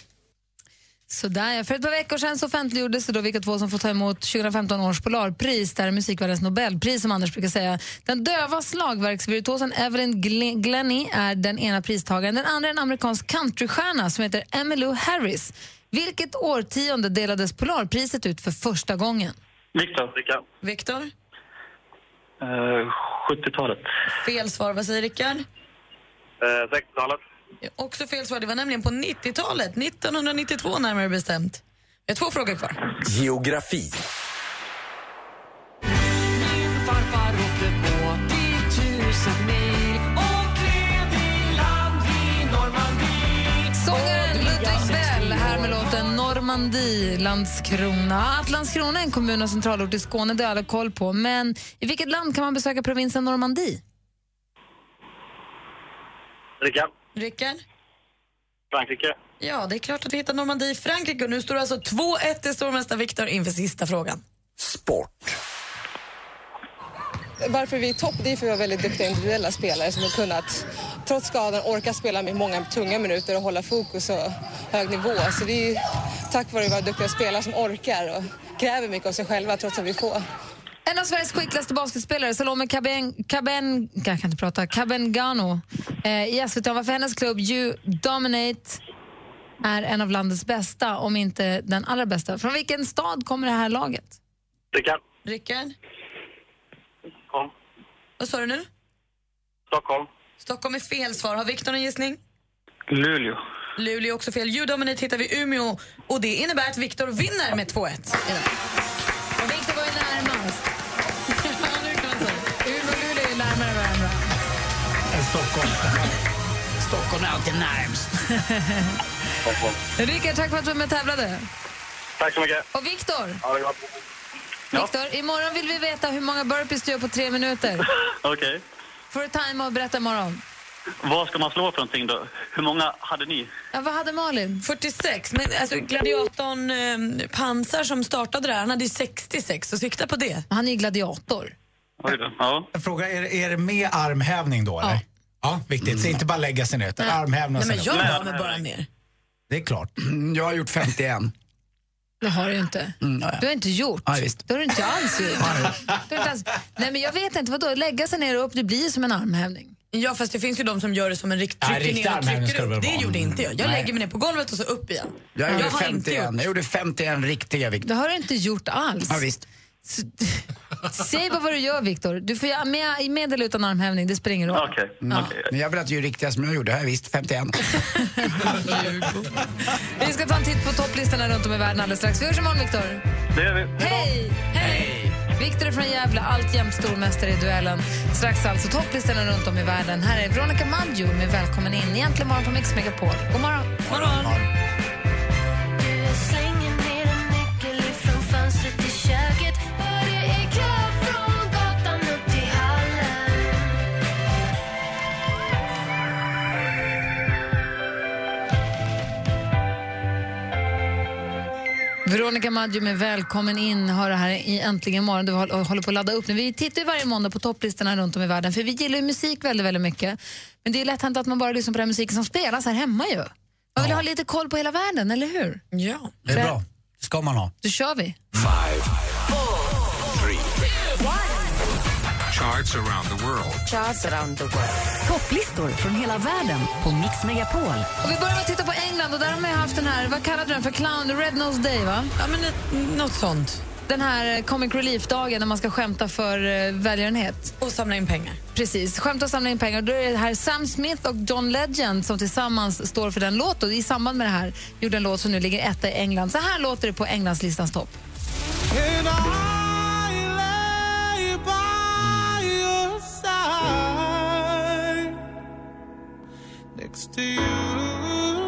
Speaker 1: Sådär, för ett par veckor sedan så offentliggjordes det då vilka två som får ta emot 2015 års Polarpris, där musikvärldens Nobelpris som Anders brukar säga. Den döva slagverksvirtuosen Evelyn Gle- Glennie är den ena pristagaren. Den andra är en amerikansk countrystjärna som heter Emmylou Harris. Vilket årtionde delades Polarpriset ut för första gången?
Speaker 9: Viktor. Rickard.
Speaker 5: Viktor?
Speaker 6: Eh,
Speaker 9: 70-talet.
Speaker 5: Fel svar. Vad säger Rickard?
Speaker 9: Eh, 60-talet.
Speaker 5: Också fel svar. Det var nämligen på 90-talet. 1992 närmare bestämt. Jag har två frågor kvar.
Speaker 11: Geografi.
Speaker 10: Farfar åkte på 10 000 mil och klev i land vid Normandie.
Speaker 1: Sångaren Ludvig Bell här med låten Normandie, Landskrona. Att Landskrona är en kommun och centralort i Skåne det har alla koll på. Men i vilket land kan man besöka provinsen Normandie?
Speaker 9: Rickard.
Speaker 5: Rickard?
Speaker 9: Frankrike.
Speaker 5: Ja, det är klart att vi hittar Normandie i Frankrike. Och nu står det alltså 2-1 till stormästare Viktor inför sista frågan.
Speaker 15: Varför vi är topp det är för att vi har väldigt duktiga individuella spelare som har kunnat, trots skadan, orka spela med många tunga minuter och hålla fokus och hög nivå. Så det är ju tack vare våra duktiga spelare som orkar och kräver mycket av sig själva trots att vi får.
Speaker 1: En av Sveriges skickligaste basketspelare, Salome Caben, Caben, jag kan inte prata, Cabengano eh, i SVT. Varför hennes klubb You Dominate är en av landets bästa, om inte den allra bästa. Från vilken stad kommer det här laget?
Speaker 9: Rickard.
Speaker 5: Rickard?
Speaker 9: Stockholm.
Speaker 5: Vad sa du nu?
Speaker 9: Stockholm.
Speaker 5: Stockholm är fel svar. Har Viktor en gissning?
Speaker 9: Luleå.
Speaker 5: Luleå är också fel. Ljudominit hittar vi Umeå och det innebär att Viktor vinner med 2-1.
Speaker 1: Och Viktor var ju närmast. Umeå och Luleå är närmare varandra.
Speaker 3: Stockholm. Stockholm är alltid närmst.
Speaker 1: Rickard, tack för att du var med och tävlade.
Speaker 9: Tack så mycket.
Speaker 1: Och Viktor,
Speaker 9: Ha det gott.
Speaker 1: Viktor, imorgon vill vi veta hur många burpees du gör på tre minuter.
Speaker 9: Okej.
Speaker 1: Får du tajma och berätta imorgon.
Speaker 9: Vad ska man slå för någonting då? Hur många hade ni?
Speaker 1: Ja, vad hade Malin?
Speaker 5: 46, men alltså gladiatorn eh, Pansar som startade det här, han hade ju 66 och sikta på det.
Speaker 1: Han är ju gladiator.
Speaker 9: Oj då. Ja.
Speaker 4: Jag frågar, är, det- är det med armhävning då eller? Ja. viktigt.
Speaker 3: Mm.
Speaker 4: Så inte bara lägga sig ner utan
Speaker 5: Nej.
Speaker 4: armhävning och
Speaker 5: Nej, men
Speaker 4: sen
Speaker 5: jag
Speaker 4: upp.
Speaker 5: la mig bara ner.
Speaker 4: Det är klart.
Speaker 3: Mm,
Speaker 4: Jag har gjort 51.
Speaker 1: Det har du ju inte.
Speaker 4: Mm, ja, ja.
Speaker 1: Du har inte gjort.
Speaker 4: Ja, visst.
Speaker 1: Det har du inte alls gjort. Du har inte alls... Nej, men jag vet inte. Vadå? Lägga sig ner och upp, det blir ju som en armhävning.
Speaker 5: Ja, fast det finns ju de som gör det som en rikt
Speaker 4: Ja,
Speaker 5: trycker
Speaker 4: riktig
Speaker 5: ner och
Speaker 4: armhävning ska
Speaker 5: trycker
Speaker 4: det väl
Speaker 5: upp. Det
Speaker 4: vara.
Speaker 5: gjorde inte jag. Jag
Speaker 4: Nej.
Speaker 5: lägger mig ner på golvet och så upp igen.
Speaker 4: Jag gjorde
Speaker 5: har inte
Speaker 4: 51.
Speaker 5: gjort.
Speaker 4: Jag gjorde 51 riktiga Viktor.
Speaker 1: Det har du inte gjort alls.
Speaker 4: Ja, visst.
Speaker 1: Säg bara vad du gör, Viktor. Du får göra med, med eller utan armhävning, det spelar ingen roll.
Speaker 4: Mm. Men jag berättade ju riktiga som jag gjorde. Här, visst, 51.
Speaker 1: Vi ska ta en titt på topplistorna runt om i världen alldeles strax. Vi hörs imorgon, Viktor.
Speaker 9: Det gör vi.
Speaker 1: Hej! Hej! Viktor är från Gävle, alltjämt stormästare i duellen. Strax alltså topplistorna runt om i världen. Här är Veronica Maggio med Välkommen in. Egentligen morgon på Mix Megapol. God morgon!
Speaker 10: morgon.
Speaker 1: Veronica Maggio med Välkommen in hör det här i Äntligen morgon. Du håller på att ladda upp nu. Vi tittar ju varje måndag på topplistorna runt om i världen för vi gillar ju musik väldigt, väldigt mycket. Men det är ju lätt hänt att man bara lyssnar på den musik som spelas här hemma ju. Man vill ha lite koll på hela världen, eller hur?
Speaker 5: Ja.
Speaker 4: Det är bra. Det ska man ha.
Speaker 1: Då kör vi.
Speaker 10: Five, four, three, Charts around the world. Charts around the world.
Speaker 2: Topplistor från hela världen på Mix Megapol.
Speaker 1: Och vi börjar med att titta på England och där har man ju haft den här, vad kallade du den för? Clown Red Nose Day va?
Speaker 5: Ja men ett, något sånt.
Speaker 1: Den här eh, Comic Relief-dagen när man ska skämta för eh, välgörenhet.
Speaker 5: Och samla in pengar.
Speaker 1: Precis, skämta och samla in pengar. Då är det här Sam Smith och John Legend som tillsammans står för den låten. Och I samband med det här gjorde en låt som nu ligger etta i England. Så här låter det på Englandslistans topp.
Speaker 10: And I lay by your side next to you.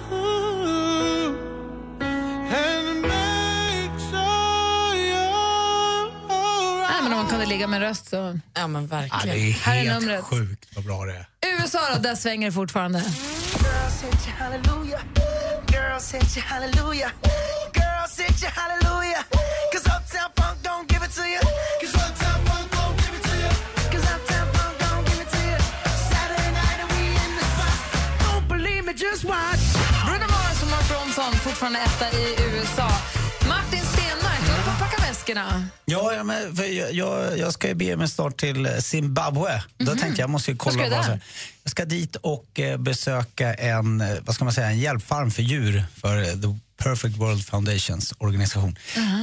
Speaker 10: You. And make sure you're all
Speaker 1: Nej, men om man kunde ligga med en röst så...
Speaker 5: Ja, men
Speaker 4: Ja,
Speaker 5: verkligen.
Speaker 4: det är
Speaker 1: Här är
Speaker 4: helt
Speaker 1: numret.
Speaker 4: sjukt vad bra det är.
Speaker 1: USA då, där svänger det fortfarande.
Speaker 10: Girl said you hallelujah. Girl said you hallelujah. Girl said you hallelujah. Cause Uptown Funk don't give it to you. Cause Uptown Funk don't give it to you. Cause Uptown Funk don't give it to you. Saturday night and we in the spot. Don't believe me, just watch.
Speaker 1: Bruno Mars och Mark Ronson fortfarande etta i USA. Martin Stenmark, du håller på att packa väskorna.
Speaker 4: Ja, ja, men för jag, jag, jag ska ju bege mig snart till eh, Zimbabwe. Då tänkte jag, jag måste ju
Speaker 1: Vad Mhm. ska
Speaker 4: kolla
Speaker 1: du
Speaker 4: vad som
Speaker 1: där?
Speaker 4: Jag ska dit och eh, besöka en, eh, vad ska man säga, en hjälpfarm för djur för eh, The Perfect World Foundations organisation.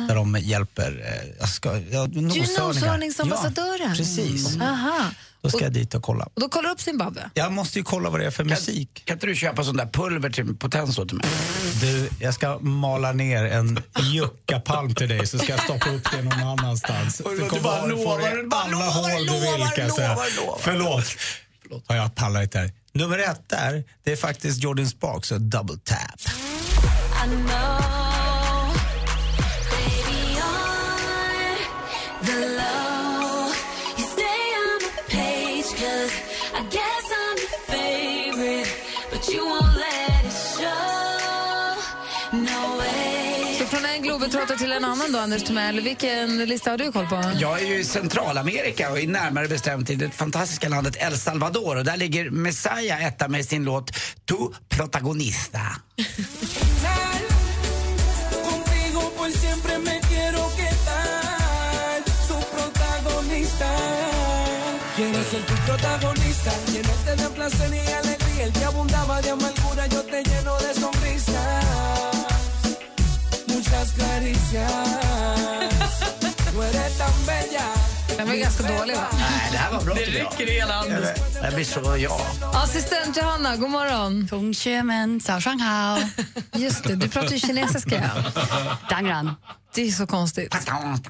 Speaker 4: Där de hjälper eh, jag ska, ja,
Speaker 1: Djursnoshörningsambassadören.
Speaker 4: Ja, precis.
Speaker 1: Aha.
Speaker 4: Då ska jag dit och kolla.
Speaker 1: Och då kollar du upp Zimbabwe.
Speaker 4: Jag måste ju kolla vad det är för musik.
Speaker 3: Kan inte du köpa sån där pulver till potens åt mig?
Speaker 4: Du, jag ska mala ner en juckapalm till dig så ska jag stoppa upp det någon annanstans.
Speaker 3: du
Speaker 4: kommer
Speaker 3: bara
Speaker 4: att få
Speaker 3: lovar,
Speaker 4: det i
Speaker 3: du bara
Speaker 4: alla
Speaker 3: lovar,
Speaker 4: hål du
Speaker 3: lovar,
Speaker 4: vill, kan jag säga.
Speaker 3: lovar, lovar.
Speaker 4: Förlåt. Förlåt. Ja, jag pallar inte här. Nummer ett där, det är faktiskt Jordan Sparks och Double Tap.
Speaker 10: I know. Baby, on the low. You stay on the page, cause I guess I'm your favorite. But you won't let it show. No way.
Speaker 1: Så från en globetrotter till en annan då, Anders Timell. Vilken lista har du koll på?
Speaker 3: Jag är ju i Centralamerika och är närmare bestämt i det fantastiska landet El Salvador och där ligger Messiah etta med sin låt Tu Protagonista.
Speaker 10: Contigo por siempre me quiero quedar, tu protagonista. Quiero ser tu protagonista, llenarte de placer y alegría. El que abundaba de amargura, yo te lleno de sonrisas, muchas caricias. Tú eres tan bella.
Speaker 1: Den var ju ganska dålig va?
Speaker 3: Nej, det här var bra. Det räcker i hela landet. Jag blir så jag.
Speaker 1: Assistent Johanna, god morgon.
Speaker 16: Tung Chemen, Zhao Shang Hao.
Speaker 1: Just det, du pratar ju kinesiska. ja.
Speaker 16: Dangran.
Speaker 1: Det är så konstigt.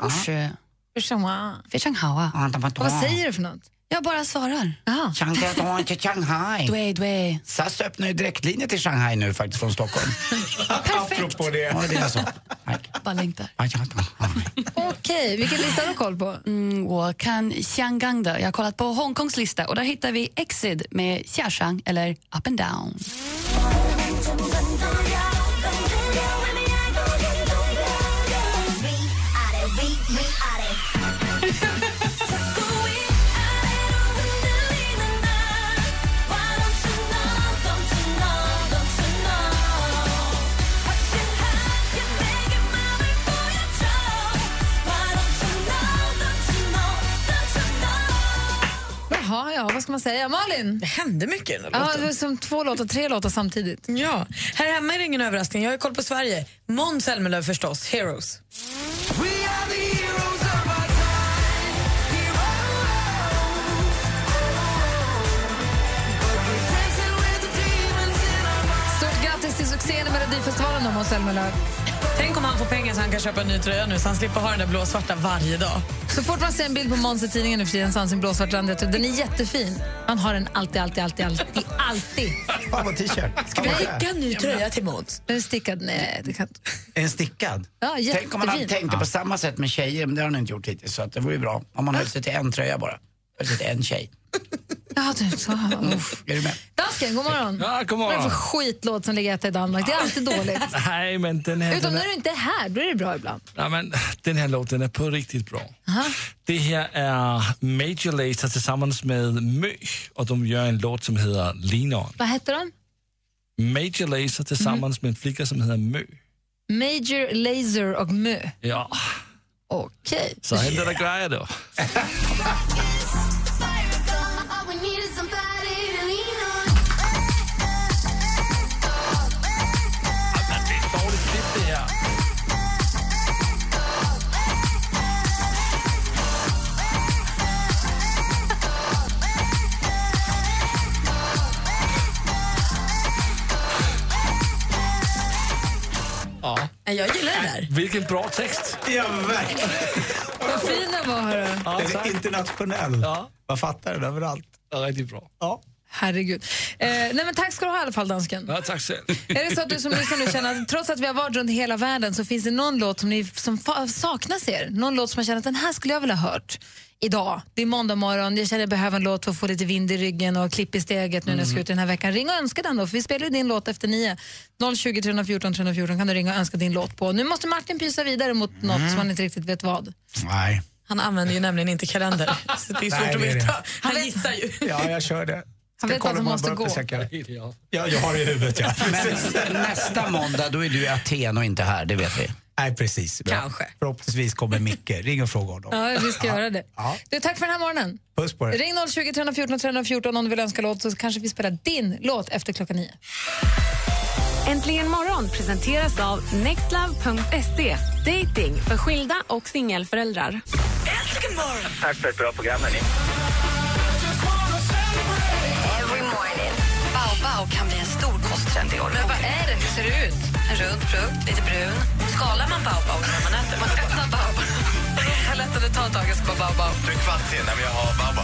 Speaker 16: Usch.
Speaker 1: Ursäkta.
Speaker 16: Fei Shang Hao.
Speaker 2: 啊
Speaker 3: 啊
Speaker 1: Och Vad säger du för något?
Speaker 16: Jag bara svarar.
Speaker 3: Shanghai till Shanghai.
Speaker 16: Dway, dway.
Speaker 3: SAS öppnar ju direktlinjer till Shanghai nu faktiskt från Stockholm.
Speaker 1: Perfekt.
Speaker 3: Apropå det. Ja, det är alltså. så.
Speaker 16: Bara längtar.
Speaker 1: Okej, vilken lista har du koll på?
Speaker 16: Mm, och kan Xiangang då? Jag har kollat på Hongkongs lista och där hittar vi Exid med Xiaxang eller Up and Down.
Speaker 1: Jaha, ja, vad ska man säga? Malin?
Speaker 5: Det hände mycket i den här
Speaker 1: Ja,
Speaker 5: låten.
Speaker 1: det var som två låtar, tre låtar samtidigt.
Speaker 5: Ja, här hemma är det ingen överraskning. Jag har ju koll på Sverige. Måns Zelmerlöw förstås, Heroes.
Speaker 1: Stort grattis till succén i Melodifestivalen då, Måns Zelmerlöw.
Speaker 5: Tänk om han får pengar så han kan köpa en ny tröja nu så han slipper ha den där blåsvarta varje dag.
Speaker 1: Så fort man ser en bild på Måns i tidningen nu för tiden så har han sin blåsvarta randiga Den är jättefin. Han har den alltid, alltid, alltid, alltid, alltid.
Speaker 3: Fan vad t-shirt.
Speaker 1: Ska vi skicka en ny tröja
Speaker 5: till Måns?
Speaker 1: Den är stickad. Nej, det kan inte.
Speaker 3: En stickad?
Speaker 1: Ja,
Speaker 3: Tänk om man hade
Speaker 1: jättefin.
Speaker 3: tänkt det på samma sätt med tjejer, men det har han inte gjort hittills. Så att det vore ju bra om man höll sig till en tröja bara. Höll sig till en tjej.
Speaker 1: Ja, du, så. Uff.
Speaker 3: Är du med?
Speaker 1: Dansken, god morgon.
Speaker 17: Ja, god morgon.
Speaker 1: Vad är det för skitlåt som ligger etta i Danmark? Det är alltid dåligt.
Speaker 17: Nej, men den här,
Speaker 1: Utom
Speaker 17: den,
Speaker 1: när
Speaker 17: här,
Speaker 1: du inte är här, då är det bra ibland.
Speaker 17: nej, men, den här låten är på riktigt bra. Det här är Major Lazer tillsammans med Mö och de gör en låt som heter Linon.
Speaker 1: Vad heter den?
Speaker 17: Major Lazer tillsammans med en flicka som heter Mö.
Speaker 1: Major Lazer och Mö.
Speaker 17: Ja,
Speaker 1: Okej.
Speaker 17: så händer det grejer då. Ja.
Speaker 5: Jag gillar det där.
Speaker 17: Vilken bra text!
Speaker 4: Ja, verkligen.
Speaker 1: Vad fin den var, hörru.
Speaker 4: Den är internationell. Man fattar den överallt.
Speaker 17: Ja, riktigt bra.
Speaker 4: Ja.
Speaker 1: Herregud. Eh, nej, men tack ska du ha i alla fall, dansken.
Speaker 17: Ja, tack själv.
Speaker 1: Är det så att du som lyssnar nu känner att trots att vi har varit runt hela världen så finns det någon låt som, ni, som fa- saknas er? Någon låt som man känner att den här skulle jag vilja ha hört idag. Det är måndag morgon, jag känner att jag behöver en låt för att få lite vind i ryggen och klipp i steget nu när jag ska ut den här veckan. Ring och önska den då, för vi spelar ju din låt efter nio. 020 314 314 kan du ringa och önska din låt på. Nu måste Martin pysa vidare mot något
Speaker 4: Mm.
Speaker 1: som han inte riktigt vet vad.
Speaker 4: Nej.
Speaker 5: Han använder ju nämligen inte kalender, så Alltså, det är svårt
Speaker 4: Nej,
Speaker 5: att
Speaker 4: det är
Speaker 5: veta.
Speaker 4: det.
Speaker 5: Han gissar ju.
Speaker 4: Ja, jag kör det.
Speaker 1: Han
Speaker 4: Ska
Speaker 1: vet
Speaker 4: kolla
Speaker 1: vart han
Speaker 4: om jag
Speaker 1: måste gå.
Speaker 4: bara upptäcker- Ja, jag har det i huvudet, ja.
Speaker 3: Men nästa måndag, då är du i Aten och inte här, det vet vi.
Speaker 4: Nej, precis. Bra.
Speaker 1: Kanske.
Speaker 4: Förhoppningsvis kommer Micke. Ring och fråga honom.
Speaker 1: Ja, vi ska göra det.
Speaker 4: Ja.
Speaker 1: Du, tack för den här morgonen.
Speaker 4: Puss på er.
Speaker 1: Ring 020 314 314 om du vill önska låt så kanske vi spelar din låt efter klockan nio.
Speaker 8: Äntligen morgon presenteras av nextlove.se. Dating för skilda och singelföräldrar.
Speaker 11: Tack för ett bra program, hörni.
Speaker 2: Baobao kan bli en stor kosttrend i år. Men vad är det? Hur ser det ut? En rund frukt, lite brun. Skalar man baobao när man äter? Man öppnar baobao. Jag lät henne ta ett tag och skål baobao.
Speaker 11: Du är kvart sen, men jag har babba.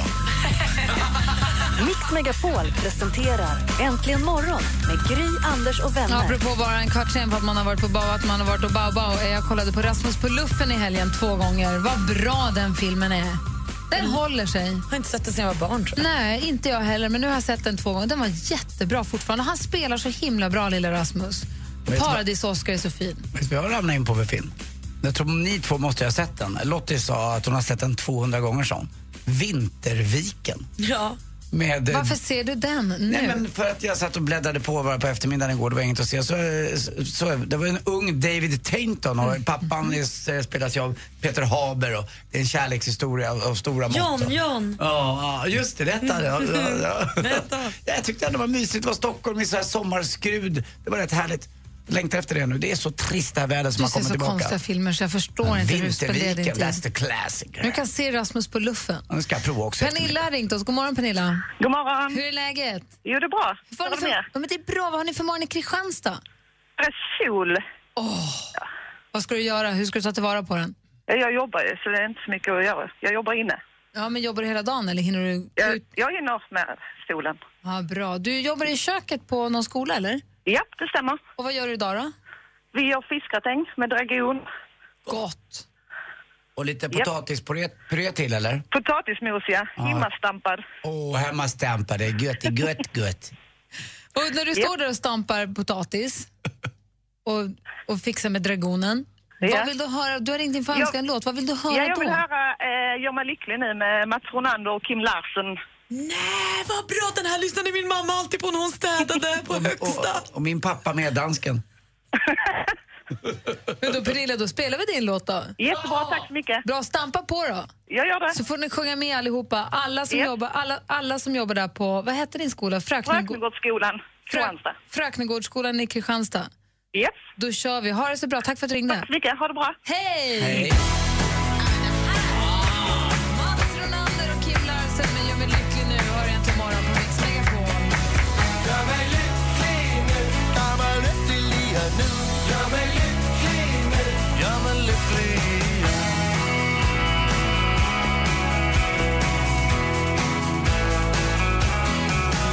Speaker 2: Mix Megapol presenterar Äntligen morgon med Gry, Anders och vänner.
Speaker 1: Apropå bara en kvart sen för att man har varit på Bao, att man har varit och Baobao. Eh, Jag kollade på Rasmus på luffen i helgen två gånger. Vad bra den filmen är. Den håller sig. Jag
Speaker 5: har inte sett den sen jag var barn. Tror
Speaker 1: Nej, inte jag heller. Men nu har jag sett den två gånger. Den var jättebra fortfarande. Han spelar så himla bra, lilla Rasmus.
Speaker 3: Vet du vad- Eh,
Speaker 1: Paradis-Oscar är så fin.
Speaker 3: Vet du vad jag ramlade in på för film? Jag tror ni två måste ha sett den. Lottie sa att hon har sett den 200 gånger, sa hon. Vinterviken.
Speaker 5: Ja.
Speaker 3: Med, eh,
Speaker 1: Varför ser du den nu?
Speaker 3: Nej, men för att jag satt och bläddrade på bara på eftermiddagen igår, det var inget att se. Så, så, så, det var en ung David Tainton och
Speaker 1: Mm.
Speaker 3: pappan är- spelas ju av Peter Haber och det är en kärlekshistoria av, av stora mått.
Speaker 10: John, John.
Speaker 3: Ja, ja, just det. Detta. Ja, ja, ja. Jag tyckte ändå det var mysigt. Det var Stockholm i så här sommarskrud. Det var rätt härligt. Längtar efter det nu. Det är så trist det här vädret som
Speaker 1: Du
Speaker 3: har
Speaker 1: ser
Speaker 3: kommit
Speaker 1: så konstiga
Speaker 3: tillbaka.
Speaker 1: filmer så jag förstår inte hur du spenderar din
Speaker 3: Vinterviken,
Speaker 1: tid.
Speaker 3: that's the classic.
Speaker 1: Nu kan se Rasmus på luffen.
Speaker 3: Ja, Nu ska jag prova också.
Speaker 1: Pernilla har ringt oss. God morgon, Pernilla. God morgon. Hur är läget?
Speaker 18: Jo, det är bra.
Speaker 1: Vad har ni för, ja, men det är bra. Vad har ni för morgon i Kristianstad?
Speaker 18: Sol.
Speaker 1: Åh. Vad ska du göra? Hur ska du ta tillvara på den?
Speaker 18: Ja, Jag jobbar ju, så det är inte så mycket att göra. Jag jobbar inne.
Speaker 1: Ja, men jobbar du hela dagen eller hinner du?
Speaker 18: Jag, jag hinner av med stolen.
Speaker 1: Ja, bra. Du jobbar i köket på någon skola eller?
Speaker 18: Ja, det stämmer.
Speaker 1: Och vad gör du idag då?
Speaker 18: Vi gör fiskgratäng med dragon.
Speaker 1: Gott!
Speaker 3: Och lite potatispuré puré till eller?
Speaker 18: Potatismos, ja.
Speaker 3: Ja.
Speaker 18: Hemmastampad.
Speaker 3: Och hemmastampad, det är gött, det är gött, gött.
Speaker 1: Och när du står där och stampar potatis och, och fixar med dragonen.
Speaker 18: Ja.
Speaker 1: Vad vill du höra? Du har ringt in för
Speaker 18: Jag-
Speaker 1: önskan låt. Vad vill du höra
Speaker 18: ja, jag
Speaker 1: då?
Speaker 18: vill höra eh, Gör mig lycklig nu med Mats Ronander och Kim Larsen.
Speaker 5: Nej, vad bra! Den här lyssnade min mamma alltid på när hon städade på högsta.
Speaker 3: Och min pappa med dansken.
Speaker 1: Men då Pernilla, då spelar vi din låt då.
Speaker 18: Jättebra, tack så mycket.
Speaker 1: Bra, stampa på då.
Speaker 18: Jag gör det.
Speaker 1: Så får ni sjunga med allihopa. Alla som,
Speaker 18: Japp.
Speaker 1: jobbar, alla, alla som jobbar där på, vad hette din skola? Fröknegård...
Speaker 18: Fröknegårdsskolan, Kristianstad.
Speaker 1: Fröknegårdsskolan i Kristianstad.
Speaker 18: Yes.
Speaker 1: Då kör vi. Ha det så bra. Tack för att du ringde. Tack så
Speaker 18: mycket. Ha det bra.
Speaker 1: Hej!
Speaker 3: Hej.
Speaker 1: Mats Ronander och Kim Larsen med Gör mig lycklig nu. Hör egentligen morgon på Mix Megapol.
Speaker 10: Gör mig lycklig nu, gör mig lyckligare nu. Gör mig lycklig nu, gör mig lycklig.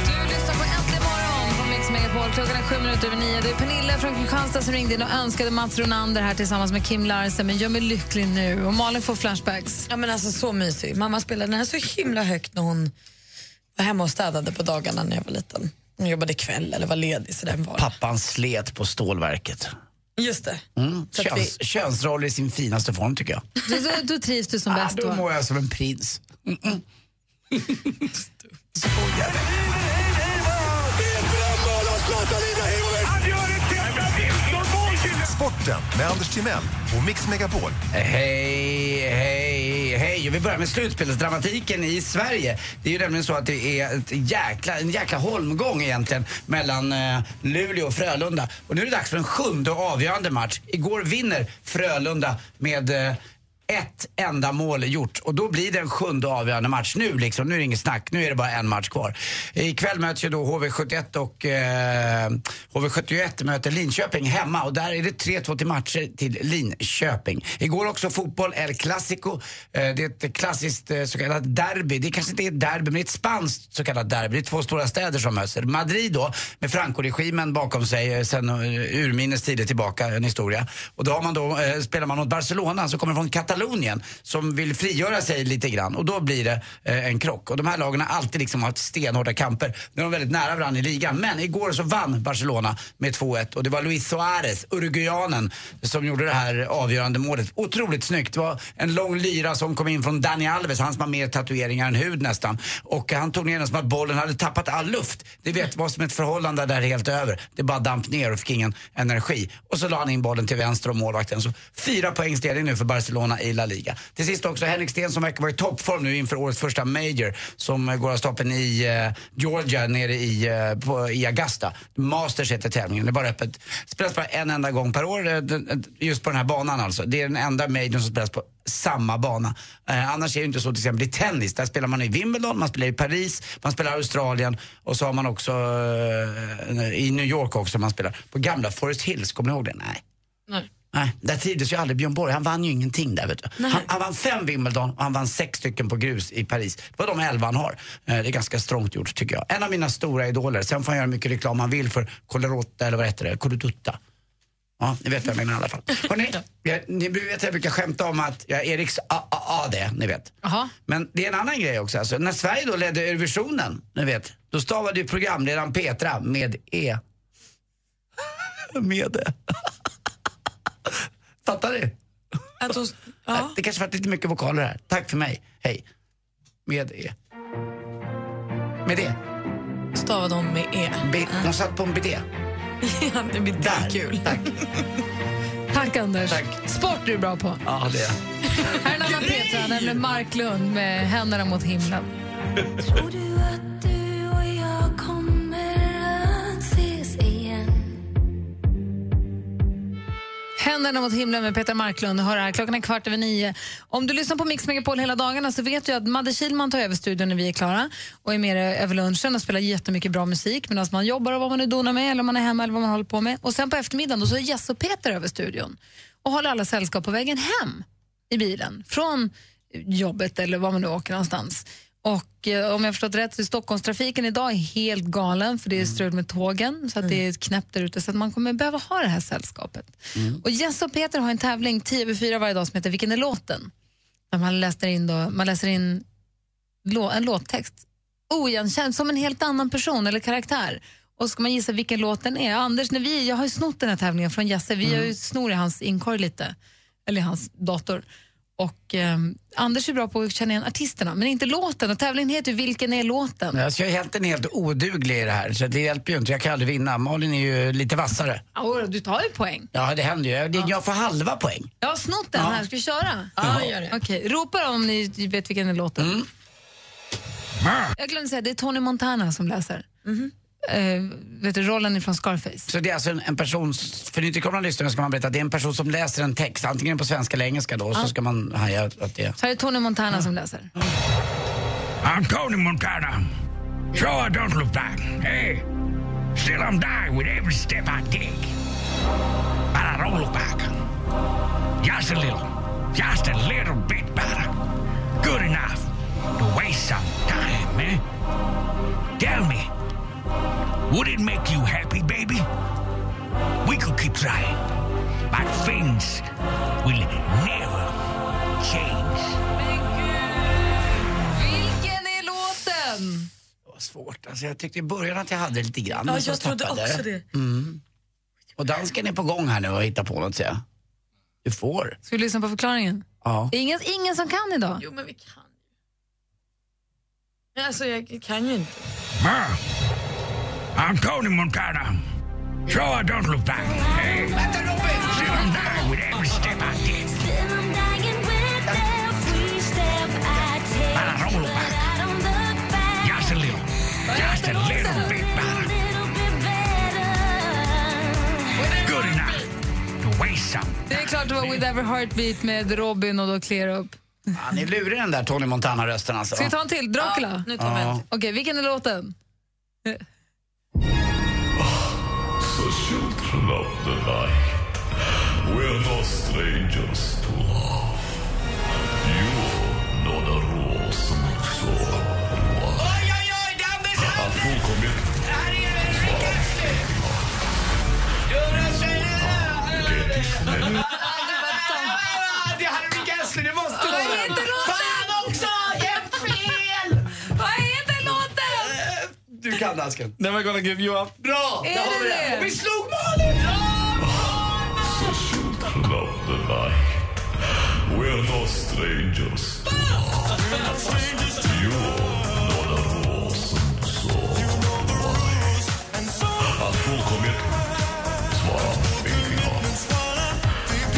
Speaker 1: Du lyssnar på Äntligen morgon på Mix Megapol. Klockan är sju minuter över nio. Det är Pernilla från Kristianstad som ringde in och önskade Mats Ronander här tillsammans med Kim Larsen med Gör mig lycklig nu. Och Malin får flashbacks.
Speaker 5: Ja, men alltså så mysig. Mamma spelade den här så himla högt när hon var hemma och städade på dagarna när jag var liten. Hon jobbade kväll eller var ledig så den var.
Speaker 3: Pappan slet på stålverket.
Speaker 5: Just det.
Speaker 3: Mm.
Speaker 5: Så att
Speaker 3: Köns, Könsroller i sin finaste form tycker jag.
Speaker 1: Då, då, då trivs du som
Speaker 3: Ah,
Speaker 1: bäst
Speaker 3: då
Speaker 1: då?
Speaker 3: mår jag som en prins.
Speaker 19: Sporten med Anders Timell och Mix Megapol.
Speaker 3: Hej, hej, hej. Och Vi börjar med slutspelsdramatiken i Sverige. Det är ju nämligen så att det är ett jäkla, en jäkla holmgång egentligen mellan eh, Luleå och Frölunda. Och nu är det dags för en sjunde och avgörande match. Igår vinner Frölunda med eh, ett enda mål gjort och då blir det en sjunde och avgörande match nu liksom. Nu är det inget snack, nu är det bara en match kvar. Ikväll möts ju då HV71 och eh, HV71 möter Linköping hemma och där är det 3-2 till matcher till Linköping. Igår också fotboll, El Clasico. Eh, det är ett klassiskt eh, så kallat derby. Det kanske inte är ett derby, men det är ett spanskt så kallat derby. Det är två stora städer som möts. Madrid då, med Franco-regimen bakom sig eh, sen eh, urminnes tider tillbaka, en historia. Och då har man då, eh, spelar man mot Barcelona som kommer från Katalonien som vill frigöra sig lite grann och då blir det eh, en krock. Och de här lagen har alltid liksom haft stenhårda kamper. Nu är de väldigt nära varandra i ligan. Men igår så vann Barcelona med 2-1 och det var Luis Suarez, uruguayanen, som gjorde det här avgörande målet. Otroligt snyggt. Det var en lång lyra som kom in från Dani Alves, han som har mer tatueringar än hud nästan. Och han tog ner den som att bollen hade tappat all luft. Det vet, var som ett förhållande där helt över. Det bara damp ner och fick ingen energi. Och så la han in bollen till vänster om målvakten. Så fyra poängs ledning nu för Barcelona i La Liga. Till sist också Henrik Sten som verkar vara i toppform nu inför årets första major som eh, går av stapeln i eh, Georgia nere i, eh, på, i Augusta. Masters heter tävlingen, det är bara öppet. Spelas bara en enda gång per år, eh, den- eh, just på den här banan alltså. Det är den enda majorn som spelas på samma bana. Eh, annars är det inte så till exempel i tennis, där spelar man i Wimbledon, man spelar i Paris, man spelar i Australien och så har man också eh, i New York också man spelar. På gamla Forest Hills, kommer ni ihåg det? Nej. Nej, där trivdes ju aldrig Björn Borg. Han vann ju ingenting där. Vet du. Han, han vann fem Wimbledon och han vann sex stycken på grus i Paris. Det var de elva han har. Eh, Det är ganska strångt gjort tycker jag. En av mina stora idoler. Sen får han göra mycket reklam han vill för Colorota eller vad heter det? Colodutta. Ja, ni vet vad jag menar i alla fall. Hörrni, jag, ni vet att jag brukar skämta om att jag är Eriks AAD, ni vet. Men det är en annan grej också. Alltså, när Sverige då ledde Eurovisionen, ni vet, då stavade ju programledaren Petra med E. med det. Fattar ni? Det kanske varit lite mycket vokaler här. Tack för mig. Hej. Med E. Med det.
Speaker 5: Stavade hon med E?
Speaker 3: B. Hon satt på en BD.
Speaker 5: ja, det blir
Speaker 3: Där. kul. Tack.
Speaker 1: Tack Anders. Sport du är bra på.
Speaker 3: Ja, det är jag.
Speaker 1: Här är en annan Petra, nämligen Marklund med Händerna mot himlen.
Speaker 10: Tror du att du och jag kommer att ses igen?
Speaker 1: Händerna mot himlen med Peter Marklund. Hör här, klockan är kvart över nio. Om du lyssnar på Mix Megapol hela dagarna så vet du att Madde Kilman tar över studion när vi är klara och är med dig över lunchen och spelar jättemycket bra musik medan man jobbar och vad man nu donar med eller om man är hemma eller vad man håller på med. Och sen på eftermiddagen då så är Jess och Peter över studion och håller alla sällskap på vägen hem i bilen från jobbet eller var man nu åker någonstans. Och eh, om jag förstått rätt så är Stockholmstrafiken idag helt galen för det är strul med tågen så att det är knäppt där ute så att man kommer behöva ha det här sällskapet. Och Jens och Peter har en tävling 10 över 4 varje dag som heter Vilken är låten? Där man läser in, då, man läser in lå, en låttext oigenkänd, som en helt annan person eller karaktär. Och så ska man gissa vilken låt den är. Anders, när vi, jag har ju snott den här tävlingen från Jesse. Vi har ju snor i hans inkorg lite, eller i hans dator. Och ehm, Anders är bra på att känna igen artisterna, men inte låten. Och tävlingen heter ju Vilken är låten?
Speaker 3: Nej, Alltså jag är helt, en helt oduglig i det här, så det hjälper ju inte. Jag kan aldrig vinna. Malin är ju lite vassare.
Speaker 1: Åh, du tar ju poäng.
Speaker 3: Ja, det händer ju. Jag, jag får halva poäng.
Speaker 1: Jag har snott den här, ska vi köra?
Speaker 3: Ja,
Speaker 1: gör det. Okej, ropa om ni vet vilken är låten. Jag glömde säga, det är Tony Montana som läser. Eh, vet du, rollen från Scarface.
Speaker 3: Så det är alltså en, en person, för nytillkomna lyssnare ska man berätta att det är en person som läser en text, antingen på svenska eller engelska då, och
Speaker 1: Ja.
Speaker 3: så ska man haja att det är...
Speaker 1: Så här är Tony Montana som läser.
Speaker 20: I'm Tony Montana. So I don't look back. Hey, still I'm dying with every step I take. But I don't look back. Just a little. Just a little bit better. Good enough to waste some time, eh? Tell me, would it make you happy, baby? We could keep trying. But things will never change.
Speaker 1: Vilken är låten?
Speaker 3: Det var svårt. Alltså jag tyckte i början att jag hade lite grann.
Speaker 1: Ja,
Speaker 3: men så
Speaker 1: jag trodde
Speaker 3: tappade jag
Speaker 1: också det.
Speaker 3: Mm. Och dansken är på gång här nu och hittar på något, ser jag. Du får.
Speaker 1: Ska vi lyssna på förklaringen?
Speaker 3: Ja.
Speaker 1: Det är ingen, ingen som kan idag.
Speaker 5: Jo, men vi kan ju. Alltså, jag kan ju inte.
Speaker 20: Huh. I'm Tony Montana. So I don't look back. Hey. Still I'm dying with every step I take. But I don't look back. Just a little. Just a little bit better. Good enough to waste some.
Speaker 1: Det är klart det var With Every Heartbeat med Robin och då Clear Up.
Speaker 3: Han är lurig den där Tony Montana-rösten alltså.
Speaker 1: Ska vi ta en till? Dracula?
Speaker 3: Ja, nu tar vi en Ja. till.
Speaker 1: Okej, vilken är låten?
Speaker 21: The children of the night, we're no strangers to love. You know the rules, so do I. I've full commitment.
Speaker 3: Det är Harry Gessler, det måste
Speaker 10: vara den.
Speaker 3: Fan också! Jämt fel!
Speaker 1: Vad heter
Speaker 5: Eh.
Speaker 1: låten?
Speaker 3: Du kan dansken.
Speaker 17: Never gonna give you up.
Speaker 3: Bra!
Speaker 10: Är
Speaker 3: Där har
Speaker 10: det
Speaker 3: vi
Speaker 10: det?
Speaker 3: Och vi slog Malin!
Speaker 21: The children of the night, we're no strangers to love. You know the rules, so do I. I've full commitment, so I'm thinking of.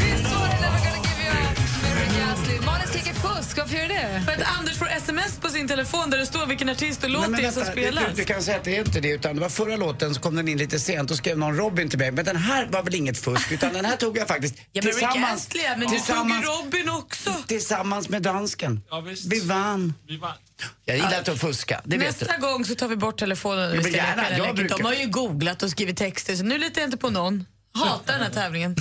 Speaker 1: Visst var det Never gonna give you up med Rick Astley? Malin skriker fusk, varför gör du det?
Speaker 5: För att Anders får sms på sin telefon där det står vilken artist och låt det är som spelas.
Speaker 3: Du, du kan säga att det är inte det, utan det var förra låten så kom den in lite sent och skrev någon Robin till mig. Men den här var väl inget fusk, utan den här tog jag faktiskt
Speaker 5: Ja, men Rick Astley, men du tog ju Robin också.
Speaker 3: Tillsammans med dansken. Vi vann. Jag gillar inte att fuska, det vet du.
Speaker 5: Nästa gång så tar vi bort telefonen. och
Speaker 3: Ja,
Speaker 5: vi
Speaker 3: men
Speaker 5: ska
Speaker 3: gärna,
Speaker 5: leka den
Speaker 3: jag
Speaker 5: leken.
Speaker 3: brukar-
Speaker 5: De har ju googlat och skrivit texter, så nu litar jag inte på någon. Hatar den här tävlingen.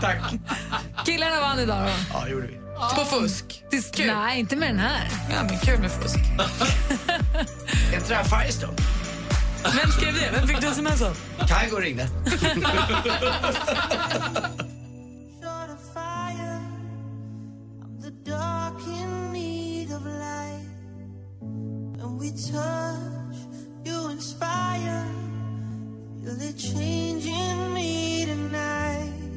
Speaker 4: Tack.
Speaker 1: Killarna vann idag då.
Speaker 3: Ja, det gjorde vi.
Speaker 5: På fusk.
Speaker 1: Det Nej, inte med den här.
Speaker 5: Ja, men kul med fusk.
Speaker 3: Är inte det här Firestone?
Speaker 5: Vem skrev det? Vem fick du sms av?
Speaker 3: Kygo ringde.
Speaker 10: the dark in need of light. When we touch, you inspire. Feel it changing me tonight.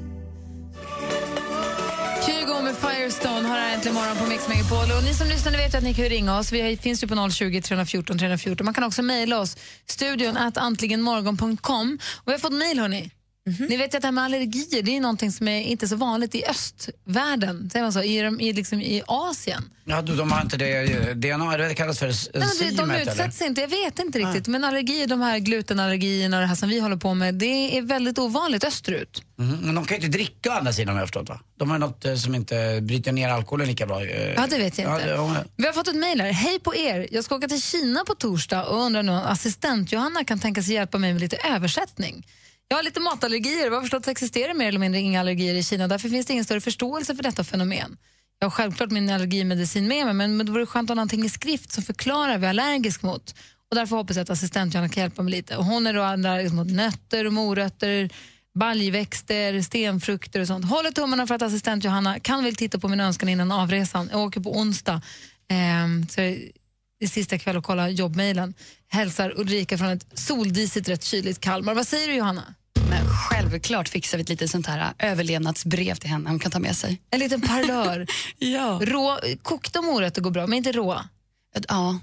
Speaker 1: Kygo med Firestone har här äntligen morgon på Mix Megapol. Och ni som lyssnar ni vet ju att ni kan ju ringa oss. Vi har- finns ju på 020 314 314. Man kan också mejla oss, studion at antligenmorgon.com. Och vi har fått mejl hörni.
Speaker 5: Mhm.
Speaker 1: Ni vet ju att det här med allergier det är ju någonting som är inte så vanligt i östvärlden, säger man så, i, de- i, liksom, i Asien.
Speaker 3: Ja, du, de har inte det eh, DNA, eller det kallas för s-
Speaker 1: Nej, men det, de
Speaker 3: simet, eller?
Speaker 1: utsätts inte, jag vet inte riktigt. Men allergier, de här glutenallergierna och det här som vi håller på med, det är väldigt ovanligt österut.
Speaker 3: Mhm, Men de kan ju inte dricka å andra sidan har jag förstått va? De har något eh, som inte bryter ner alkoholen lika bra. eh.
Speaker 1: Ja, det vet jag inte.
Speaker 3: Ja, det-
Speaker 1: Vi har fått ett mejl här. Hej på er! Jag ska åka till Kina på torsdag och undrar nu om assistent Johanna kan tänka sig hjälpa mig med lite översättning. Jag har lite matallergier och har förstått så existerar mer eller mindre inga allergier i Kina. Därför finns det ingen större förståelse för detta fenomen. Jag har självklart min allergimedicin med mig men men det vore skönt att ha någonting i skrift som förklarar vad jag är allergisk mot. Och därför hoppas jag att assistent Johanna kan hjälpa mig lite. Och hon är då allergisk mot nötter, och morötter, baljväxter, stenfrukter och sånt. Håller tummarna för att assistent Johanna kan väl titta på min önskan innan avresan. Jag åker på onsdag. Ehm, så det är sista kväll och kolla jobbmejlen. Hälsar Ulrika från ett soldisigt, rätt kyligt Kalmar. Vad säger du Johanna?
Speaker 16: Men självklart fixar vi ett litet sånt här äh, överlevnadsbrev till henne hon kan ta med sig.
Speaker 1: En liten parlör.
Speaker 16: ja.
Speaker 1: Rå, kokta morötter går bra, men inte råa.
Speaker 16: Ja,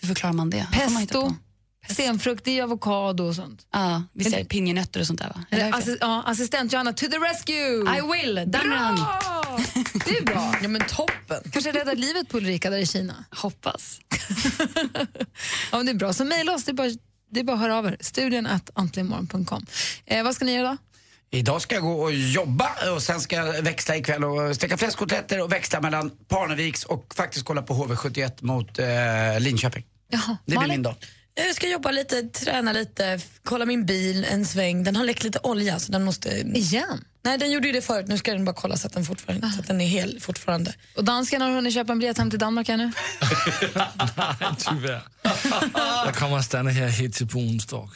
Speaker 16: hur förklarar man det? Får man hitta
Speaker 1: Pesto,
Speaker 16: på.
Speaker 1: stenfrukt, det är avokado och sånt.
Speaker 16: Ja, vi säger pinjenötter och sånt där va? Eller
Speaker 1: Eller,
Speaker 16: har jag fel?
Speaker 1: assi- ja, assistent Johanna, to the rescue!
Speaker 16: I will, done
Speaker 1: Bra!
Speaker 16: run.
Speaker 1: Det är bra. Ja, men toppen. Kanske räddar livet på Ulrika där i Kina.
Speaker 16: Hoppas.
Speaker 1: ja, men det är bra. Så mejla oss, det är bara, det är bara att höra av er. Studion at antligenmorgon.com. Eh, vad ska ni göra idag?
Speaker 3: Idag ska jag gå och jobba och sen ska jag växla ikväll och steka fläskkotletter och växla mellan Parneviks och faktiskt kolla på HV71 mot eh, Linköping.
Speaker 1: Jaha,
Speaker 3: Det blir min dag.
Speaker 5: Jag ska jobba lite, träna lite, f- kolla min bil en sväng. Den har läckt lite olja så den måste...
Speaker 1: Igen?
Speaker 5: Nej, den gjorde ju det förut. Nu ska den bara kolla så att den, fortfarande, så att den är hel fortfarande.
Speaker 1: Och dansken har hunnit köpa en biljett hem till Danmark ännu?
Speaker 17: Nej, tyvärr. Jag kommer att stanna här helt till på onsdag.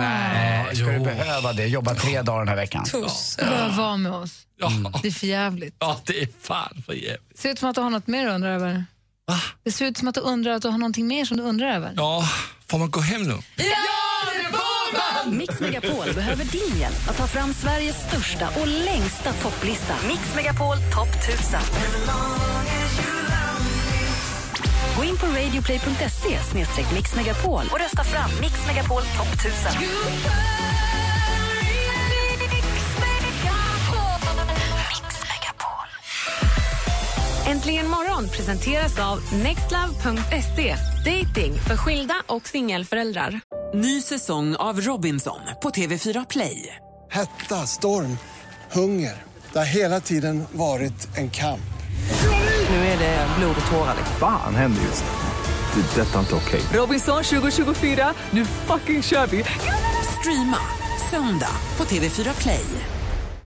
Speaker 3: Nej, ska du
Speaker 17: jo.
Speaker 3: behöva det? Jobba tre dagar den här veckan.
Speaker 1: Du behöver vara med oss. Det är för jävligt.
Speaker 17: Ja, det är fan för jävligt.
Speaker 1: Ser ut som att du har något mer du undrar över. Det ser ut som att du undrar att du har någonting mer som du undrar över.
Speaker 17: Ja, får man gå hem nu?
Speaker 2: Mix Megapol behöver din hjälp att ta fram Sveriges största och längsta topplista. Mix Megapol topp 1000. Gå in på radioplay.se snedstreck mixmegapol och rösta fram Mix Megapol topp 1000.
Speaker 8: Äntligen morgon presenteras av nextlove.se. Dating för skilda och singelföräldrar.
Speaker 10: Ny säsong av Robinson på TV4 Play.
Speaker 22: Hetta, storm, hunger. Det har hela tiden varit en kamp.
Speaker 10: Nu är det blod och tårar.
Speaker 23: Fan händer just nu. Det. är Detta är inte okej.
Speaker 10: Robinson 2024, nu fucking kör vi! Streama söndag på TV4 Play.